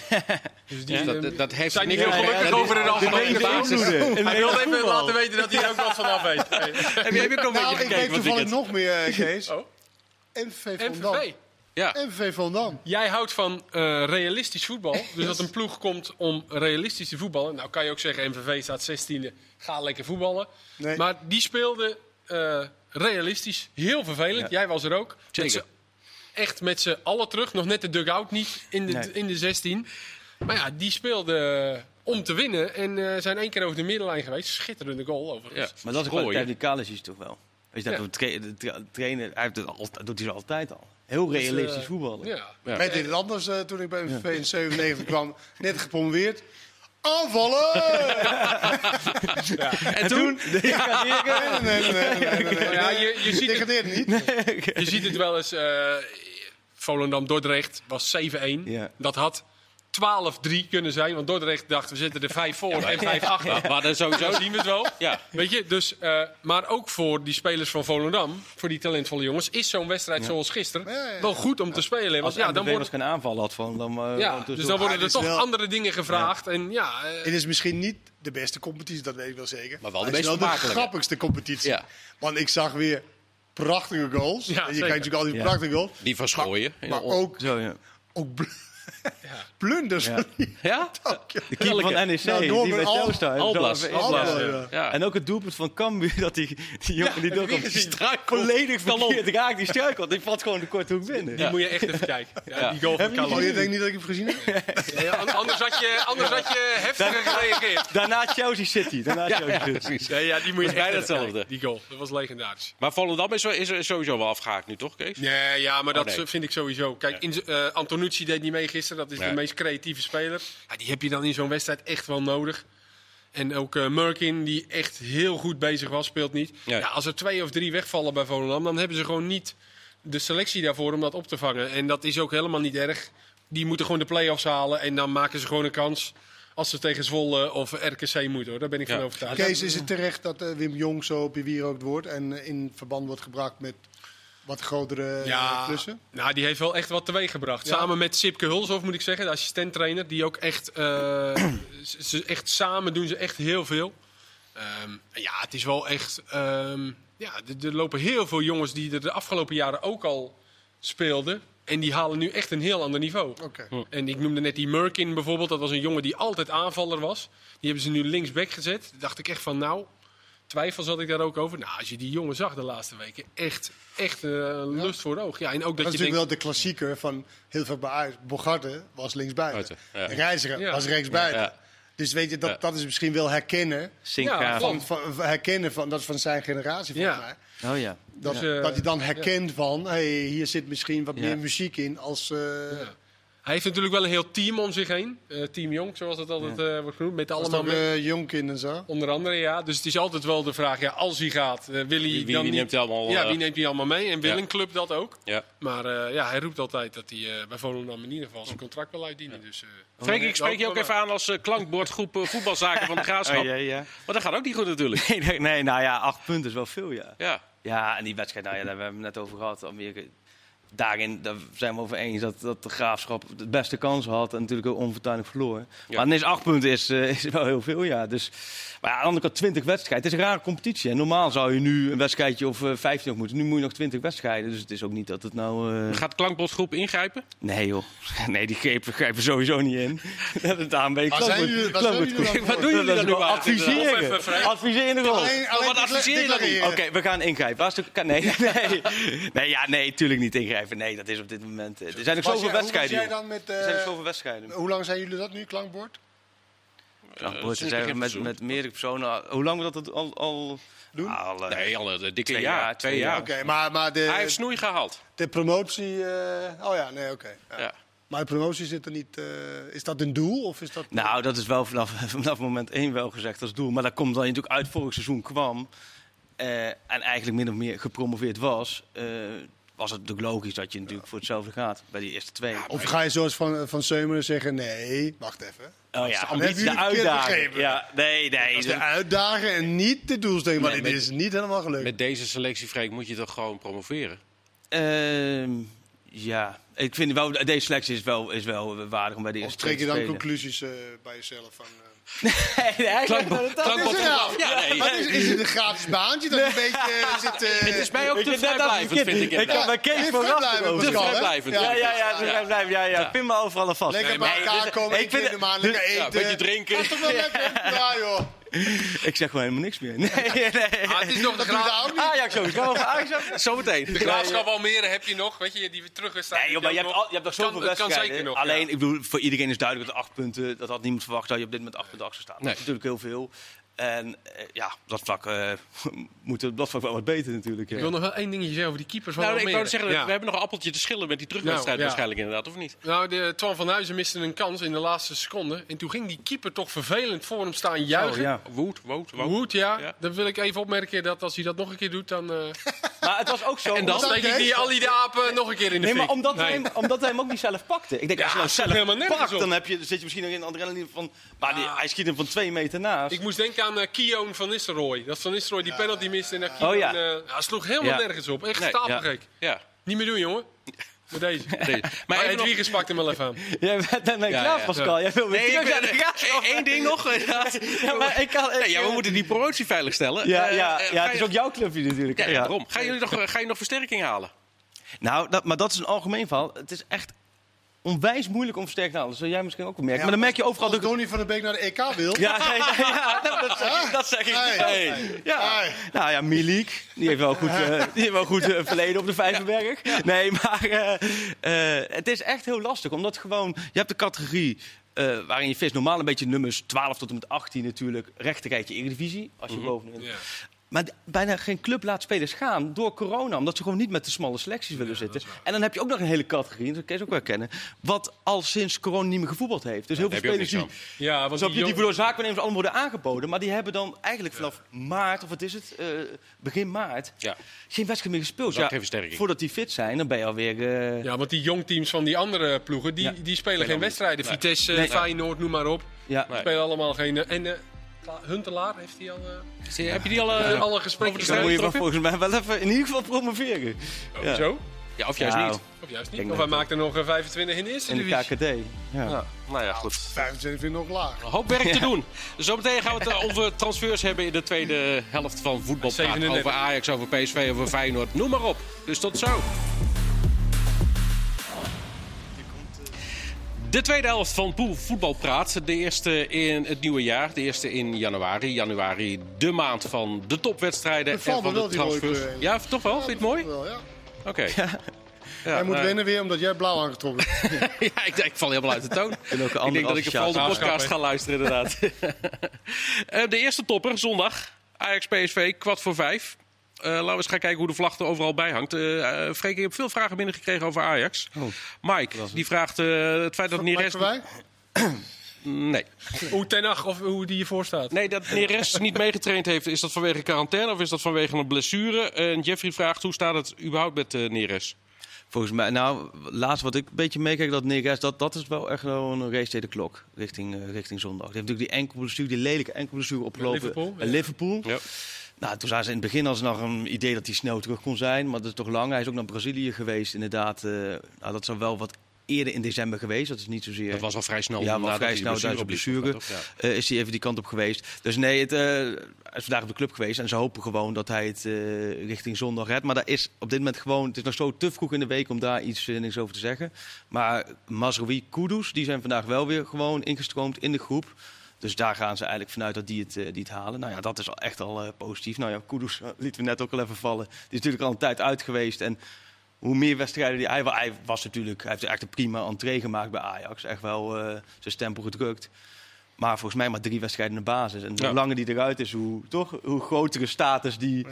S2: die,
S1: Dus
S2: ehm,
S1: dat, dat heeft
S2: zijn niet
S1: meer-
S2: heel gelukkig
S1: dat is-
S2: over de algemene basis. Hij wilde even laten weten dat hij er ook wat vanaf weet.
S1: Heb je, heb je ook nog
S3: Nou,
S1: een beetje
S3: ik weet
S1: gekeken van
S3: toevallig
S1: het
S3: nog meer, eh, Kees.
S2: Oh.
S3: MVV
S2: MVV,
S3: Volendam.
S1: Ja.
S3: MVV Volendam.
S2: jij houdt van eh, realistisch voetbal. Dus dat een ploeg komt om realistisch te voetballen. Nou kan je ook zeggen, MVV staat 16e, ga lekker voetballen.
S3: Nee.
S2: Maar die speelde eh, realistisch. Heel vervelend, jij was er ook. Met
S1: Zeker.
S2: z'n echt met z'n allen terug. Nog net de dugout niet in de,
S4: Nee.
S2: in de 16. Maar ja, die speelde om te winnen. En eh, zijn één keer over de middenlijn geweest. Schitterende goal overigens.
S1: Ja.
S4: Maar dat is
S1: Gooi,
S4: kwaliteit die Kalis is toch wel. Weet je, dat
S2: Ja.
S4: we tra- de tra- trainen, hij heeft het al, dat doet hij zo altijd al. Heel
S2: eh,
S4: realistisch voetballen.
S2: Ja.
S1: Ja.
S3: Met dit anders eh, toen ik bij MVV in 97 kwam. Net gepromoveerd. Aanvallen!
S1: En toen?
S3: nee, nee, nee, nee, nee, nee,
S2: Maar
S3: nee.
S2: ja, je, je ziet het
S3: Degradeert niet.
S2: Je ziet het wel eens. eh, Volendam-Dordrecht was 7-1.
S4: Ja.
S2: Dat had 12-3 kunnen zijn. Want Dordrecht dacht, we zitten er 5 voor en 5 achter.
S1: Maar dan sowieso.
S2: Zo zien we het wel.
S1: Ja.
S2: Weet je, dus, eh, maar ook voor die spelers van Volendam, voor die talentvolle jongens, is zo'n wedstrijd zoals gisteren
S3: Ja, ja, ja.
S2: wel goed om te spelen. Want
S4: Als
S2: ja, dan, wordt,
S4: geen aanval had van, dan... eh,
S2: ja,
S4: gewoon
S2: dus dan
S4: tussendoor.
S2: worden
S3: Ah,
S2: er
S3: dit is
S2: toch
S3: wel-
S2: andere dingen gevraagd. En ja, eh,
S3: Het is misschien niet de beste competitie, dat weet ik wel zeker.
S1: Maar wel de
S3: het is
S1: meest
S3: wel de
S1: vermakelijke.
S3: grappigste competitie.
S1: Ja.
S3: Want ik zag weer prachtige goals.
S2: Ja,
S3: en je
S2: zeker.
S3: kijkt natuurlijk al die
S4: Ja.
S3: prachtige goals.
S1: Die van Oh. Schooien.
S3: Maar ook,
S4: Zo, ja.
S3: ook bl- plunders.
S4: Ja.
S1: Ja?
S4: De keeper van NEC,
S3: Nou, door
S4: die
S3: met
S4: bij
S3: Al-
S4: Telstar.
S1: Alblas.
S4: Zo-
S3: Alblas,
S4: Ja.
S3: ja.
S1: Ja.
S4: En ook het doelpunt van Cambuur, dat die, die jongen die doelpunt
S1: Die struikelt.
S4: volledig verkeerd raakt. Die struikelt, die valt gewoon de korte hoek binnen.
S2: die moet je echt even kijken. Ja, Die goal van
S3: Oh,
S2: Callum.
S3: je denkt niet dat ik hem gezien heb?
S2: Nee, an- Anders had je, anders had je heftiger gereageerd.
S4: Daarna Chelsea City. Daarna Chelsea City.
S2: Nee, ja, die moet je
S1: Dat is
S2: echt
S1: bijna
S2: even kijken.
S1: hetzelfde.
S2: Die goal, dat was legendarisch.
S1: Maar Volendam is, is, is sowieso wel afgehaakt nu, toch, Kees?
S2: Nee, ja, maar dat eh,
S1: Oh, nee.
S2: vind ik sowieso. Kijk, in, z- eh, Antonucci deed niet mee gisteren. Dat is
S1: Nee.
S2: de meest creatieve speler. Ja, die heb je dan in zo'n wedstrijd echt wel nodig. En ook eh, Merkin, die echt heel goed bezig was, speelt niet.
S1: Nee.
S2: Ja, als er twee of drie wegvallen bij Volendam, dan hebben ze gewoon niet de selectie daarvoor om dat op te vangen. En dat is ook helemaal niet erg. Die moeten gewoon de play-offs halen en dan maken ze gewoon een kans als ze tegen Zwolle of RKC moeten. Hoor. Daar ben ik
S1: Ja.
S2: van overtuigd.
S3: Kees, is het terecht dat eh, Wim Jong zo op je wier ook het woord en eh, in verband wordt gebracht met wat grotere ja. klussen?
S2: Nou, die heeft wel echt wat teweeggebracht.
S3: eh, Ja.
S2: Samen met Sipke Hulshoff, moet ik zeggen, de assistenttrainer. Die ook echt, eh, ze- ze, echt samen doen ze echt heel veel. Ehm, en ja, het is wel echt... ehm, ja, er, er lopen heel veel jongens die er de afgelopen jaren ook al speelden. En die halen nu echt een heel ander niveau.
S3: Oké.
S2: En ik noemde net die Merkin bijvoorbeeld. Dat was een jongen die altijd aanvaller was. Die hebben ze nu linksback gezet. Daar dacht ik echt van, nou, twijfels had ik daar ook over. Nou, als je die jongen zag de laatste weken, echt, echt eh, lust voor het oog. Ja, en ook dat,
S3: Dat, is
S2: je denkt,
S3: natuurlijk wel de klassieker van heel veel bij Ajax. Bogarde was linksbuiten.
S1: Buiten, ja.
S3: Reiziger
S2: Ja.
S3: was rechtsbuiten.
S1: Ja.
S3: Dus weet je, dat,
S1: Ja.
S3: dat is misschien wel herkennen
S4: Sinkgraaf.
S2: klopt.
S3: van, van- van- herkennen van, dat is van zijn generatie volgens
S2: Ja.
S3: mij.
S4: Oh ja.
S3: Dat,
S2: Ja.
S3: dat hij dan herkent van, hey, hier zit misschien wat
S4: Ja.
S3: meer muziek in als... eh,
S2: hij heeft natuurlijk wel een heel team om zich heen. Eh, team Jong, zoals dat altijd eh, wordt genoemd. Met
S3: als
S2: allemaal
S3: dat,
S2: mensen.
S3: eh, Jonkin en zo.
S2: Onder andere, ja. Dus het is altijd wel de vraag, ja, als hij gaat, eh, wil hij
S1: Wie- wie-
S2: dan
S1: wie
S2: niet-
S1: neemt hij allemaal,
S2: Ja,
S1: eh,
S2: wie neemt hij allemaal mee? En wil
S1: ja.
S2: een club dat ook?
S1: Ja.
S2: Maar eh, ja, hij roept altijd dat hij eh, bij Volendam in ieder geval
S1: Oh.
S2: zijn contract wil uitdienen. Dus, eh,
S1: Freek, ik spreek je ook even aan als eh, klankbordgroep eh, voetbalzaken van de Graafschap.
S4: Oh, ja, ja.
S1: Maar dat gaat ook niet goed natuurlijk.
S4: Nee, nee, nee, nou ja, acht punten is wel veel, ja.
S1: Ja.
S4: Ja, en die wedstrijd, nou ja, daar hebben we het net over gehad. Almere, daarin daar zijn we over eens dat, dat de Graafschap de beste kans had. En natuurlijk ook onfortuinlijk verloor.
S1: Ja.
S4: Maar ineens acht punten is, eh, is wel heel veel, ja. Dus, maar ja, aan de andere kant, twintig wedstrijden. Het is een rare competitie. En normaal zou je nu een wedstrijdje of eh, vijftien nog moeten. Nu moet je nog twintig wedstrijden. Dus het is ook niet dat het nou... eh,
S1: Gaat klankbordgroep ingrijpen?
S4: Nee joh, nee die grepen grijpen sowieso niet in. Dat het aanbeen
S3: Waar zijn jullie- waar zijn jullie dan voor?
S1: Wat doen jullie dan nu aan?
S2: Of even
S4: Adviseren,
S2: vrij-
S4: adviseren rol.
S3: Alleen- alleen
S1: wat
S3: decla-
S1: adviseer je dan?
S3: declareren.
S4: Oké, we gaan ingrijpen. Waar is de- kan- Nee, nee. Nee, ja, nee, tuurlijk niet ingrijpen. Nee, dat is op dit moment... eh, Er zijn ook
S3: Bas,
S4: zoveel
S3: jij- hoe was
S4: wedstrijden,
S3: jij
S4: joh.
S3: dan met,
S4: Er
S3: eh,
S4: zijn ook zoveel wedstrijden.
S3: Hoe lang zijn jullie dat nu, klankbord?
S4: Nou, broer,
S1: sinds
S4: er zijn we
S1: begin
S4: met,
S1: seizoen.
S4: met meerdere personen... eh, Hoe lang we dat al... al
S3: Doen?
S4: al, eh,
S1: Nee, al een dikke
S4: Twee
S1: jaar,
S4: jaar,
S1: Twee
S4: twee
S1: jaar.
S4: jaar.
S3: Oké, maar, maar
S1: Hij heeft
S3: de,
S1: snoei gehaald.
S3: de promotie... eh, oh ja, nee, oké. Ja.
S1: Ja.
S3: Maar de promotie zit er niet... eh, is dat een doel of is dat...
S4: Nou, dat is wel vanaf, vanaf moment één wel gezegd als doel. Maar dat komt dat je natuurlijk uit vorig seizoen kwam. eh, en eigenlijk min of meer gepromoveerd was. eh, was het natuurlijk logisch dat je natuurlijk voor hetzelfde gaat. Bij die eerste twee.
S3: Of ga je zoals Van, van Seumeren zeggen, nee, wacht even.
S4: oh ja,
S3: hebben jullie
S4: ambitie, de
S3: verkeerd
S4: uitdaging.
S3: begrepen.
S4: Ja, nee, nee.
S3: Dus de
S4: dat-
S3: uitdagen en niet de doelstelling. Maar
S1: Nee,
S3: dit
S1: met-
S3: is niet helemaal gelukt.
S1: Met deze selectie, Freek, moet je toch gewoon promoveren?
S4: Ehm, ja, ik vind wel, deze selectie is wel, is wel waardig om bij de
S3: of
S4: eerste
S3: trek je
S4: twee
S3: dan
S4: te spelen.
S3: conclusies eh, bij jezelf van... eh,
S4: Nee, eigenlijk
S1: Klankbo-
S4: dat- dat is-
S1: klankbordgroep
S3: Ja,
S1: af. Ja, nee.
S3: Maar is, is het een gratis baantje dat je een beetje eh, zit... eh,
S1: Het is mij ook
S4: Ik
S1: te
S4: heb net
S1: vrijblijvend,
S4: afgekeken.
S1: vind ik.
S4: Ik
S1: inderdaad.
S4: kan bij Kees
S3: je
S4: van
S3: vindt
S4: Rasten
S3: blijven,
S4: over.
S3: Pascal, hè?
S1: vrijblijvend,
S4: Ja,
S3: Ja.
S4: ja, ja,
S1: Ja.
S4: ja, ja, ja, ja. Pin me overal aan vast.
S3: Lekker
S4: Nee,
S3: bij
S4: maar-
S3: elkaar
S4: dus-
S3: komen,
S4: ik
S3: ik
S4: vind
S3: vind
S4: het-
S3: hem aan, lekker
S1: Ja, een
S3: eten.
S1: beetje drinken. Nou,
S3: Dat is toch wel lekker? Ja, joh.
S4: Ik zeg gewoon helemaal niks meer. Nee, nee.
S2: Ah, het is nog de graaf.
S4: Ajax sowieso. Ajax sowieso.
S1: Zometeen.
S2: De graafschap Almere heb je nog, weet je, die terug is.
S4: Nee, joh, maar je hebt, al, je hebt nog zoveel
S2: Kan- het kan
S4: wedstrijden.
S2: zeker nog,
S4: Alleen,
S2: ja.
S4: ik bedoel, voor iedereen is duidelijk dat acht punten, dat had niemand verwacht dat je op dit moment acht punten achter staat.
S1: Nee.
S4: Dat is natuurlijk heel veel. En eh, ja, op dat vlak eh, moet het dat vlak wel wat beter natuurlijk. ja.
S2: Ik wil nog wel één dingetje zeggen over die keepers van
S1: Nou, ik
S2: Almere.
S1: wou zeggen,
S2: Ja.
S1: we hebben nog een appeltje te schillen met die terugwedstrijd
S2: Nou, ja.
S1: waarschijnlijk inderdaad, of niet?
S2: Nou, de Twan van Huizen miste een kans in de laatste seconde. En toen ging die keeper toch vervelend voor hem staan juichen.
S4: ja.
S1: Woed, woed, woed.
S2: Goed, ja.
S1: Ja.
S2: Dan wil ik even opmerken dat als hij dat nog een keer doet, dan, eh
S4: Maar het was ook
S1: En
S4: zo.
S1: dan?
S4: omdat-
S2: dan steek ik die, al die de apen nog een keer in de
S4: Nee, maar
S2: fik.
S4: omdat,
S2: Nee.
S4: Hij, hem- omdat hij hem ook niet zelf pakte. Ik denk, als je
S2: Ja,
S4: nou
S2: het staat
S4: zelf
S2: helemaal nergens
S4: pakt,
S2: op.
S4: dan heb je, zit je misschien nog in een adrenaline van... Maar die-
S2: Ah.
S4: hij schiet hem van twee meter naast.
S2: Ik moest denken aan eh Kion van Nistelrooy. Dat Van Nistelrooy die penalty miste en dat Kion...
S4: Oh, ja.
S2: eh, ja, sloeg helemaal
S4: Ja.
S2: nergens op. Echt
S1: Nee,
S2: stapelgek.
S1: Ja.
S2: Niet meer doen, jongen. Met deze.
S1: Nee.
S2: Maar
S1: even nog-
S2: Edwiges pakt hem wel even aan.
S4: Jij bent nee,
S1: Ja,
S4: klaar,
S1: ja.
S4: Pascal. Jij wil weer
S1: Nee, ik
S4: terug
S1: ben,
S4: naar de graafschap.
S1: Eén- één ding nog. inderdaad.
S4: Ja, maar ik kan...
S1: Nee, ja, we moeten die promotie veiligstellen.
S4: Ja,
S1: Eh,
S4: ja,
S1: eh,
S4: ja,
S1: ga
S4: het is
S1: je-
S4: ook jouw clubje natuurlijk.
S1: Ja,
S4: Ja.
S1: daarom. Gaan jullie nog, eh, ga je nog versterking halen?
S4: Nou, dat, maar dat is een algemeen verhaal. Het is echt onwijs moeilijk om versterkt te halen. Dat zul jij misschien ook wel merken.
S3: Ja,
S4: maar dan merk je overal...
S3: Als
S4: dat-
S3: Donny van der Beek naar de EK wil.
S4: Ja, ja, ja, ja, nou, dat zeg ik, dat zeg ik
S3: Hey.
S4: wel. Ja.
S3: Hey.
S4: Nou ja, Milik, die heeft wel goed, eh, die heeft wel goed eh, verleden op de Vijverberg. Nee, maar eh, eh, het is echt heel lastig, omdat gewoon, je hebt de categorie eh, waarin je vis normaal een beetje nummers 12 tot en met 18 natuurlijk, rechterrijtje Eredivisie, als je bovenin.
S2: Ja.
S4: Maar d- bijna geen club laat spelers gaan door corona. Omdat ze gewoon niet met de smalle selecties willen zitten. En dan heb je ook nog een hele categorie, dat kan je ook wel kennen. Wat al sinds corona niet meer gevoetbald heeft. Dus heel veel
S1: daar heb je ook
S4: spelers die.
S1: niks
S2: Ja, want
S4: Zo
S2: die
S4: die, die
S2: jong-
S4: voor zaakwaarnemers allemaal worden aangeboden. Maar die hebben dan eigenlijk vanaf maart, of wat is het? eh, begin maart.
S1: Ja.
S4: Geen wedstrijd meer gespeeld.
S1: Dat is ook geen versterking.
S4: voordat die fit zijn, dan ben je alweer. eh
S2: Ja, want die jongteams van die andere ploegen, die,
S4: Ja.
S2: die spelen geen
S1: allemaal
S2: wedstrijden.
S1: niet.
S2: Vitesse,
S4: Nee.
S2: Feyenoord, noem maar op.
S4: ja.
S1: Nee.
S2: Spelen allemaal geen... eh, en eh, Kla- Huntelaar, heeft hij al eh,
S1: Heb je die al... eh, al-
S2: alle gesprekken
S4: Dan moet je wel
S2: getrokken?
S4: volgens mij wel even in ieder geval promoveren. ja.
S2: Zo?
S1: Ja, of juist
S4: Nou,
S1: niet.
S2: Of juist
S4: Denk
S2: niet. Of
S4: dat
S2: hij maakt er nog eh, 25 in de eerste
S4: In de
S2: divisie.
S4: KKD. Ja.
S1: Nou ja, goed.
S3: 25 vind ik nog laag.
S1: Een hoop werk te doen. Zometeen gaan we het eh, over transfers hebben in de tweede helft van voetbal. Praten.
S2: 37.
S1: Over Ajax, over PSV, over Feyenoord. Noem maar op. Dus tot zo. De tweede helft van Poel Voetbal Praat. De eerste in het nieuwe jaar. De eerste in januari. Januari, de maand van de topwedstrijden
S3: Bevalt
S1: en
S3: me
S1: van de
S3: wel die rode
S1: transfers.
S3: kleur.
S1: Ja, toch wel? Vind je het mooi?
S3: Wel, ja.
S1: Oké. Ja,
S3: Hij moet
S1: nou,
S3: winnen weer omdat jij blauw aangetrokken bent.
S1: ja, ik, denk, ik val helemaal uit de toon.
S4: vind ook een
S1: Ik
S4: andere
S1: denk dat ik vooral de
S4: associatie.
S1: podcast ga luisteren, inderdaad. Eh, de eerste topper, zondag. Ajax-PSV, kwart voor vijf. Eh, laten we eens gaan kijken hoe de vlag er overal bij hangt. Eh eh, Freek, je hebt veel vragen binnengekregen over Ajax.
S4: Oh,
S1: Mike, die vraagt eh, het feit dat Neres... Mm,
S3: Blijven wij?
S1: Nee.
S2: Hoe Ten Hag, of eh, hoe die hiervoor staat.
S1: nee, dat Neres niet meegetraind heeft. Is dat vanwege quarantaine of is dat vanwege een blessure? En Jeffrey vraagt, hoe staat het überhaupt met eh, Neres?
S4: Volgens mij, nou, laatst wat ik een beetje meekijk, dat Negas, dat, dat is wel echt wel een race tegen de klok richting, eh, richting zondag. Die heeft natuurlijk die enkel blessure, die lelijke enkel blessure opgelopen
S2: Liverpool,
S4: bij
S2: ja.
S4: eh, Liverpool.
S1: Ja.
S4: Nou, toen zaten ze in het begin als nog een idee dat hij snel terug kon zijn, maar dat is toch lang. Hij is ook naar Brazilië geweest, inderdaad. eh, nou, dat zou wel wat eerder in december geweest, dat is niet zozeer...
S1: Dat was al vrij snel.
S4: Ja, maar
S1: nadat
S4: vrij
S1: hij de
S4: snel Duitse
S1: blessure
S4: blessure.
S1: opliep, toch?
S4: eh, is hij even die kant op geweest. Dus nee, het, eh, hij is vandaag op de club geweest. En ze hopen gewoon dat hij het eh, richting zondag redt. Maar daar is op dit moment gewoon... Het is nog zo te vroeg in de week om daar iets eh, niks over te zeggen. Maar Mazraoui, Kudus, die zijn vandaag wel weer gewoon ingestroomd in de groep. Dus daar gaan ze eigenlijk vanuit dat die het, eh, die het halen. Nou ja, dat is al echt al eh, positief. Nou ja, Kudus eh, lieten we net ook al even vallen. Die is natuurlijk al een tijd uit geweest. En hoe meer wedstrijden die hij, hij was natuurlijk, hij heeft echt een prima entree gemaakt bij Ajax. Echt wel eh, zijn stempel gedrukt. Maar volgens mij maar drie wedstrijden in de basis. En hoe
S1: Ja.
S4: langer die eruit is, hoe, toch, hoe grotere status die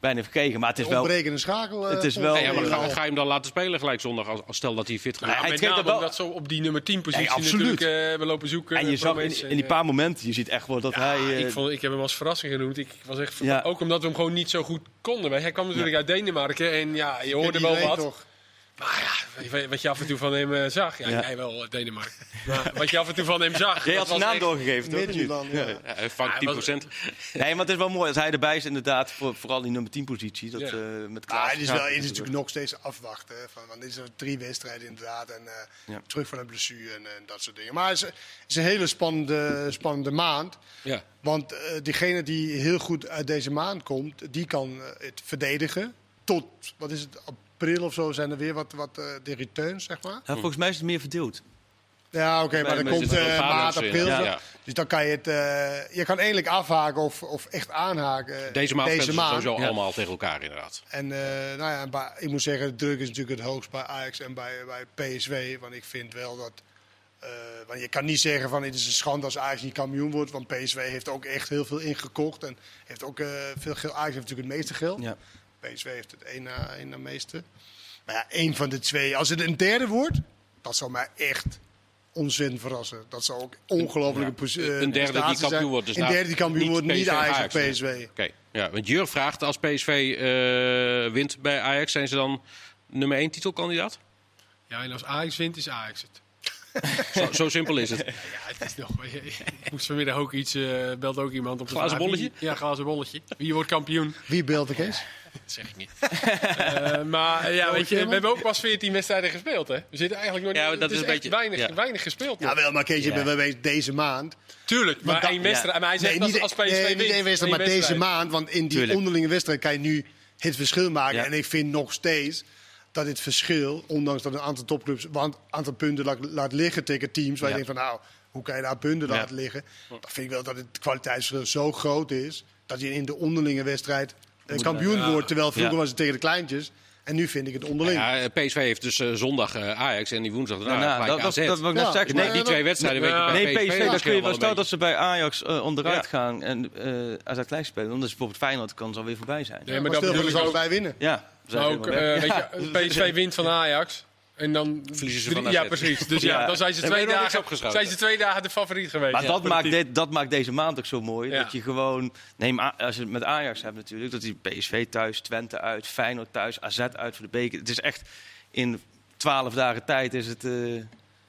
S4: bijna heeft gekregen. Maar het is wel.
S3: Ontbrekende schakel. eh,
S4: Het is wel-
S1: Nou Oh, Ja, Nou, ja, maar
S3: ongeveer
S1: ga,
S3: al.
S1: ga je hem dan laten spelen gelijk zondag? Als, als stel dat hij fit
S2: Ja,
S1: gaat.
S4: hij
S2: met
S4: treedt
S2: name
S4: er wel-
S2: omdat ze op die nummer 10 positie
S4: Nee, absoluut.
S2: natuurlijk eh, hebben lopen zoeken.
S4: En je
S2: eh,
S4: zag
S2: Promes
S4: in,
S2: en,
S4: in die
S2: eh,
S4: paar momenten, je ziet echt wel dat
S2: ja,
S4: hij. eh,
S2: ik, vond, ik heb hem als verrassing genoemd. Ik was echt ver-
S4: Ja.
S2: Ook omdat we hem gewoon niet zo goed konden. Hij kwam natuurlijk uit Denemarken en ja, je hoorde
S3: Iedereen
S2: wel wat.
S3: toch.
S2: Maar ja, weet- wat je af en toe van hem eh, zag. Ja,
S4: Ja.
S2: jij wel, eh, Denemarken. Maar wat je af en toe van hem zag.
S4: Jij
S2: dat was
S4: had zijn naam
S2: echt-
S4: doorgegeven, toch?
S3: Midtjylland, ja.
S1: Ja, hij vangt 10
S4: Nee, maar het is wel mooi. Als hij erbij is, inderdaad, voor, vooral die nummer 10 positie. Dat,
S2: Ja. Ah,
S4: eh, met Klaas
S3: Maar het is, wel,
S4: Schaap
S3: het is
S4: natuurlijk.
S3: natuurlijk nog steeds afwachten. hè, Van, want dit zijn drie wedstrijden inderdaad. En eh,
S4: Ja.
S3: terug van een blessure en, en dat soort dingen. Maar het is, het is een hele spannende, spannende maand.
S1: Ja.
S3: Want eh, diegene die heel goed uit deze maand komt, die kan eh, het verdedigen. Tot, wat is het, april of zo zijn er weer wat, wat eh, de returns, zeg maar.
S4: Ja, volgens mij is het meer verdeeld.
S3: Ja, oké, maar
S4: Bij
S3: dan
S4: mij
S3: komt
S1: zit er
S3: eh,
S1: wel
S3: maart,
S1: Fabians in,
S3: april.
S1: ja.
S3: zo.
S1: Ja.
S3: Dus dan kan je het... eh, je kan eindelijk afhaken of, of echt aanhaken. eh,
S1: Deze maand
S3: deze
S1: deze
S3: maand.
S1: sowieso
S4: Ja.
S1: allemaal tegen elkaar inderdaad.
S3: En eh, nou ja, bij- ik moet zeggen, de druk is natuurlijk het hoogst bij Ajax en bij, bij PSV. Want ik vind wel dat. eh, want je kan niet zeggen van het is een schande als Ajax niet kampioen wordt. Want PSV heeft ook echt heel veel ingekocht. En heeft ook eh, veel geld. Ajax heeft natuurlijk het meeste geld.
S4: Ja.
S3: PSV heeft het één na, één na meeste. Maar ja, één van de twee. Als het een derde wordt, dat zou mij echt onzin verrassen. Dat zou ook ongelofelijke posi- eh,
S1: een derde die
S3: prestatie zijn.
S1: kampioen wordt. Dus
S3: een
S1: nou,
S3: derde die kampioen
S1: niet
S3: wordt, niet
S1: PSV
S3: Ajax of
S1: Ajax, nee.
S3: PSV.
S1: Oké, ja, want Jur vraagt als PSV eh, wint bij Ajax, zijn ze dan nummer 1 titelkandidaat?
S2: Ja, en als Ajax wint, is Ajax het.
S1: Zo, zo simpel is het.
S2: Ja, het is nog. Ik moest vanmiddag ook iets. eh belt ook iemand op de
S1: Glazen
S2: vraag.
S1: bolletje?
S2: Wie- Ja, glazen bolletje. Wie wordt kampioen?
S3: Wie beeld ik eens?
S2: Dat zeg ik niet. Eh, maar eh, ja, weet je, we hebben ook pas 14 wedstrijden gespeeld, hè? We zitten eigenlijk nog
S1: Ja,
S2: niet.
S1: maar dat
S2: het
S1: is een
S2: echt
S1: beetje-
S2: weinig,
S1: ja.
S2: weinig gespeeld. nog.
S3: Ja, wel, maar Kees, je bent wel bezig deze maand.
S2: Tuurlijk, maar
S3: dat-
S2: één wedstrijd. Maar hij zegt
S3: Nee, niet, e-
S2: dat als PSV
S3: nee, niet
S2: wint.
S3: één wedstrijd,
S2: één
S3: maar deze
S2: wedstrijd.
S3: maand. Want in die
S4: Tuurlijk.
S3: onderlinge wedstrijd kan je nu het verschil maken.
S4: Ja.
S3: En ik vind nog steeds dat het verschil, ondanks dat een aantal topclubs een aantal punten laat, laat liggen tegen teams. Waar
S4: Ja.
S3: je denkt van nou, hoe kan je daar punten
S4: Ja.
S3: laten liggen? Dan vind ik wel dat het kwaliteitsverschil zo groot is dat je in de onderlinge wedstrijd een kampioen wordt. Terwijl vroeger
S4: Ja.
S3: was het tegen de kleintjes. En nu vind ik het onderling.
S1: Ja, eh, PSV heeft dus eh, zondag eh, Ajax en die woensdag daarna
S4: Daarna,
S1: gelijk
S4: Nou, dat, dat,
S1: AZ.
S4: dat wil ik net
S3: Ja,
S4: zeggen.
S1: Dus
S3: nee,
S1: die
S3: dat-
S1: twee wedstrijden weet
S2: Ja.
S1: je bij
S4: Nee, PSV,
S1: misschien
S4: dan kun je
S1: wel
S4: wel
S1: een
S4: stel
S1: beetje.
S4: dat ze bij Ajax eh, onderuit
S1: Ja.
S4: gaan en eh AZ klein spelen. Dan is bijvoorbeeld Feyenoord kan ze alweer voorbij zijn.
S2: Nee, maar
S3: maar
S2: dat
S3: stil,
S2: bedoel
S3: we
S2: ik
S3: zullen
S2: ook.
S3: wij winnen.
S4: Ja, we zijn
S2: Maar ook,
S4: helemaal weg.
S2: eh, weet je, PSV wint van Ajax. En dan
S1: Verliezen ze
S2: drie-
S1: van AZ.
S2: Ja, precies. Dus ja,
S4: Ja.
S2: dan zijn ze
S1: Dan ben je
S2: twee,
S1: nog niks
S2: dagen,
S1: opgeschoten.
S2: zijn ze twee dagen de favoriet geweest.
S4: Maar
S2: Ja,
S4: dat,
S2: voor
S4: maakt
S2: het
S4: dit, dat maakt deze maand ook zo mooi.
S2: Ja.
S4: Dat je gewoon, neem a- als je het met Ajax hebt natuurlijk, dat die PSV thuis, Twente uit, Feyenoord thuis, AZ uit voor de beker. Het is echt in twaalf dagen tijd is het. eh,
S3: Nu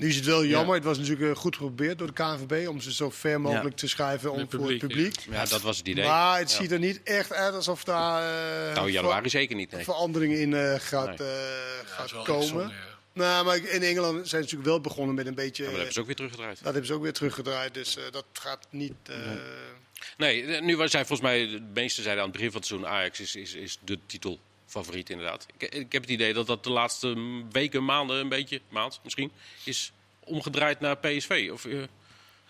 S3: is het wel jammer. Het was natuurlijk eh, goed geprobeerd door de KNVB om ze zo ver mogelijk te schrijven om,
S2: Het
S3: voor het
S2: publiek,
S3: publiek.
S1: Ja, dat was het idee.
S3: Maar het
S1: Ja.
S3: ziet er niet echt uit alsof daar eh,
S1: Nou, in januari zeker niet.
S3: ver-
S1: Nee.
S3: verandering in eh, gaat, eh,
S2: team. Ja, dat
S3: gaat
S2: is wel echt
S3: komen.
S2: zonde, ja.
S3: nou, maar in Engeland zijn ze natuurlijk wel begonnen met een beetje.
S1: Maar dat hebben
S3: eh,
S1: ze ook weer teruggedraaid.
S3: dat hebben ze ook weer teruggedraaid, dus eh, dat gaat niet. eh,
S1: Nee, eh, nu was zij volgens mij, de meeste zeiden aan het begin van het seizoen, Ajax is, is, is de titel. Favoriet inderdaad. Ik, ik heb het idee dat dat de laatste mm, weken, maanden, een beetje, maand misschien, is omgedraaid naar PSV. Of, eh,
S4: ja,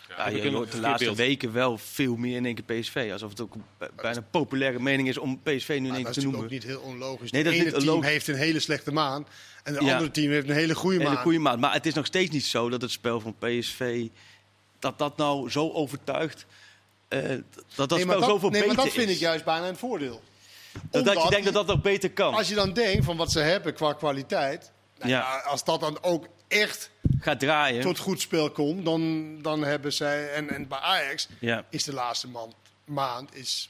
S1: heb ik
S4: je
S1: een
S4: hoort de
S1: verkeerd
S4: laatste
S1: beeld.
S4: weken wel veel meer in één keer PSV. Alsof het ook b- bijna een populaire mening is om PSV nu in
S3: maar dat
S4: één
S3: is
S4: keer te
S3: natuurlijk ook
S4: noemen.
S3: niet heel onlogisch.
S4: Nee,
S3: Het
S4: dat is
S3: ene
S4: niet
S3: team
S4: onlogisch.
S3: heeft een hele slechte maan en het
S4: Ja.
S3: andere team heeft een hele goede
S4: Hele
S3: maan.
S4: goede maand. Maar het is nog steeds niet zo dat het spel van PSV, dat dat nou zo overtuigt. eh, dat dat
S3: nee, maar
S4: spel
S3: dat,
S4: zoveel
S3: nee, maar
S4: beter
S3: dat vind
S4: is.
S3: ik juist bijna een voordeel.
S4: dat, dat je
S3: Omdat
S4: denkt dat dat nog beter kan.
S3: Als je dan denkt van wat ze hebben qua kwaliteit, nou
S4: Ja.
S3: ja, als dat dan ook echt
S4: Gaat draaien.
S3: tot goed spel komt, dan, dan hebben zij. En, en bij Ajax
S4: Ja.
S3: is de laatste man- maand. Is,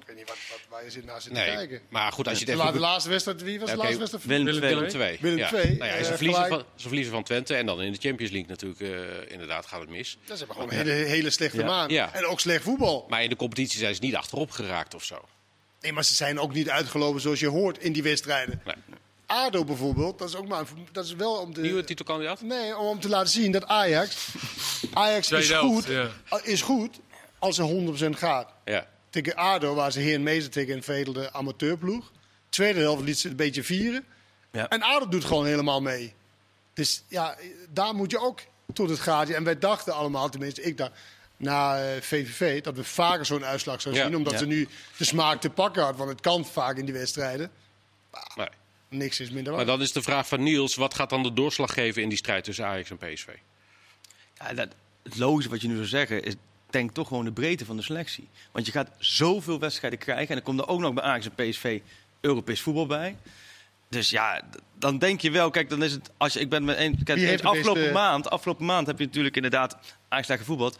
S3: ik weet niet wat, wat, waar je zit naar zit te
S1: nee,
S3: kijken.
S1: maar goed, als je
S3: De,
S1: het
S3: la-
S1: even...
S3: de laatste wedstrijd, wie was
S1: Oké,
S3: de laatste wedstrijd?
S4: Willem
S2: Willem
S4: II.
S1: Willem II.
S3: Willem
S1: ja.
S3: II,
S1: Nou ja, ze,
S3: eh,
S1: verliezen van,
S3: gelijk.
S1: ze verliezen van Twente en dan in de Champions League natuurlijk eh, inderdaad gaat het mis.
S3: Dat is gewoon een hele, hele slechte
S4: Ja.
S3: maand.
S1: Ja.
S3: En ook slecht voetbal.
S1: Maar in de competitie zijn ze niet achterop geraakt of zo.
S3: Nee, maar ze zijn ook niet uitgelopen zoals je hoort in die wedstrijden.
S1: Nee.
S3: ADO bijvoorbeeld, dat is ook maar dat is wel om de
S1: Nieuwe titelkandidaat?
S3: Nee, om om te laten zien dat Ajax Ajax is
S2: Tweede helft,
S3: goed,
S2: ja.
S3: is goed als ze 100% gaat.
S1: Ja.
S3: Tegen ADO waar ze heer meester tegen een veredelde amateurploeg. Tweede helft liet ze het een beetje vieren.
S4: Ja.
S3: En ADO doet gewoon helemaal mee. Dus ja, daar moet je ook tot het gaatje. En wij dachten allemaal, tenminste ik dacht, na eh, VVV... dat we vaker zo'n uitslag zouden
S1: Ja,
S3: zien. Omdat
S4: ja.
S3: ze nu de smaak te pakken had. Want het kan vaak in die wedstrijden.
S1: Nee.
S3: Niks is minder waar.
S1: Maar dan is de vraag van Niels, wat gaat dan de doorslag geven in die strijd tussen Ajax en PSV?
S4: Ja, dat, het logische wat je nu zou zeggen is, denk toch gewoon de breedte van de selectie. Want je gaat zoveel wedstrijden krijgen. En dan komt er ook nog bij Ajax en PSV Europees voetbal bij. Dus ja, d- dan denk je wel, kijk, dan is het, als je, ik ben met een, kijk,
S3: Wie heeft
S4: eens
S3: de
S4: afgelopen
S3: beste-
S4: maand, afgelopen maand heb je natuurlijk inderdaad Ajax daar gevoetbald.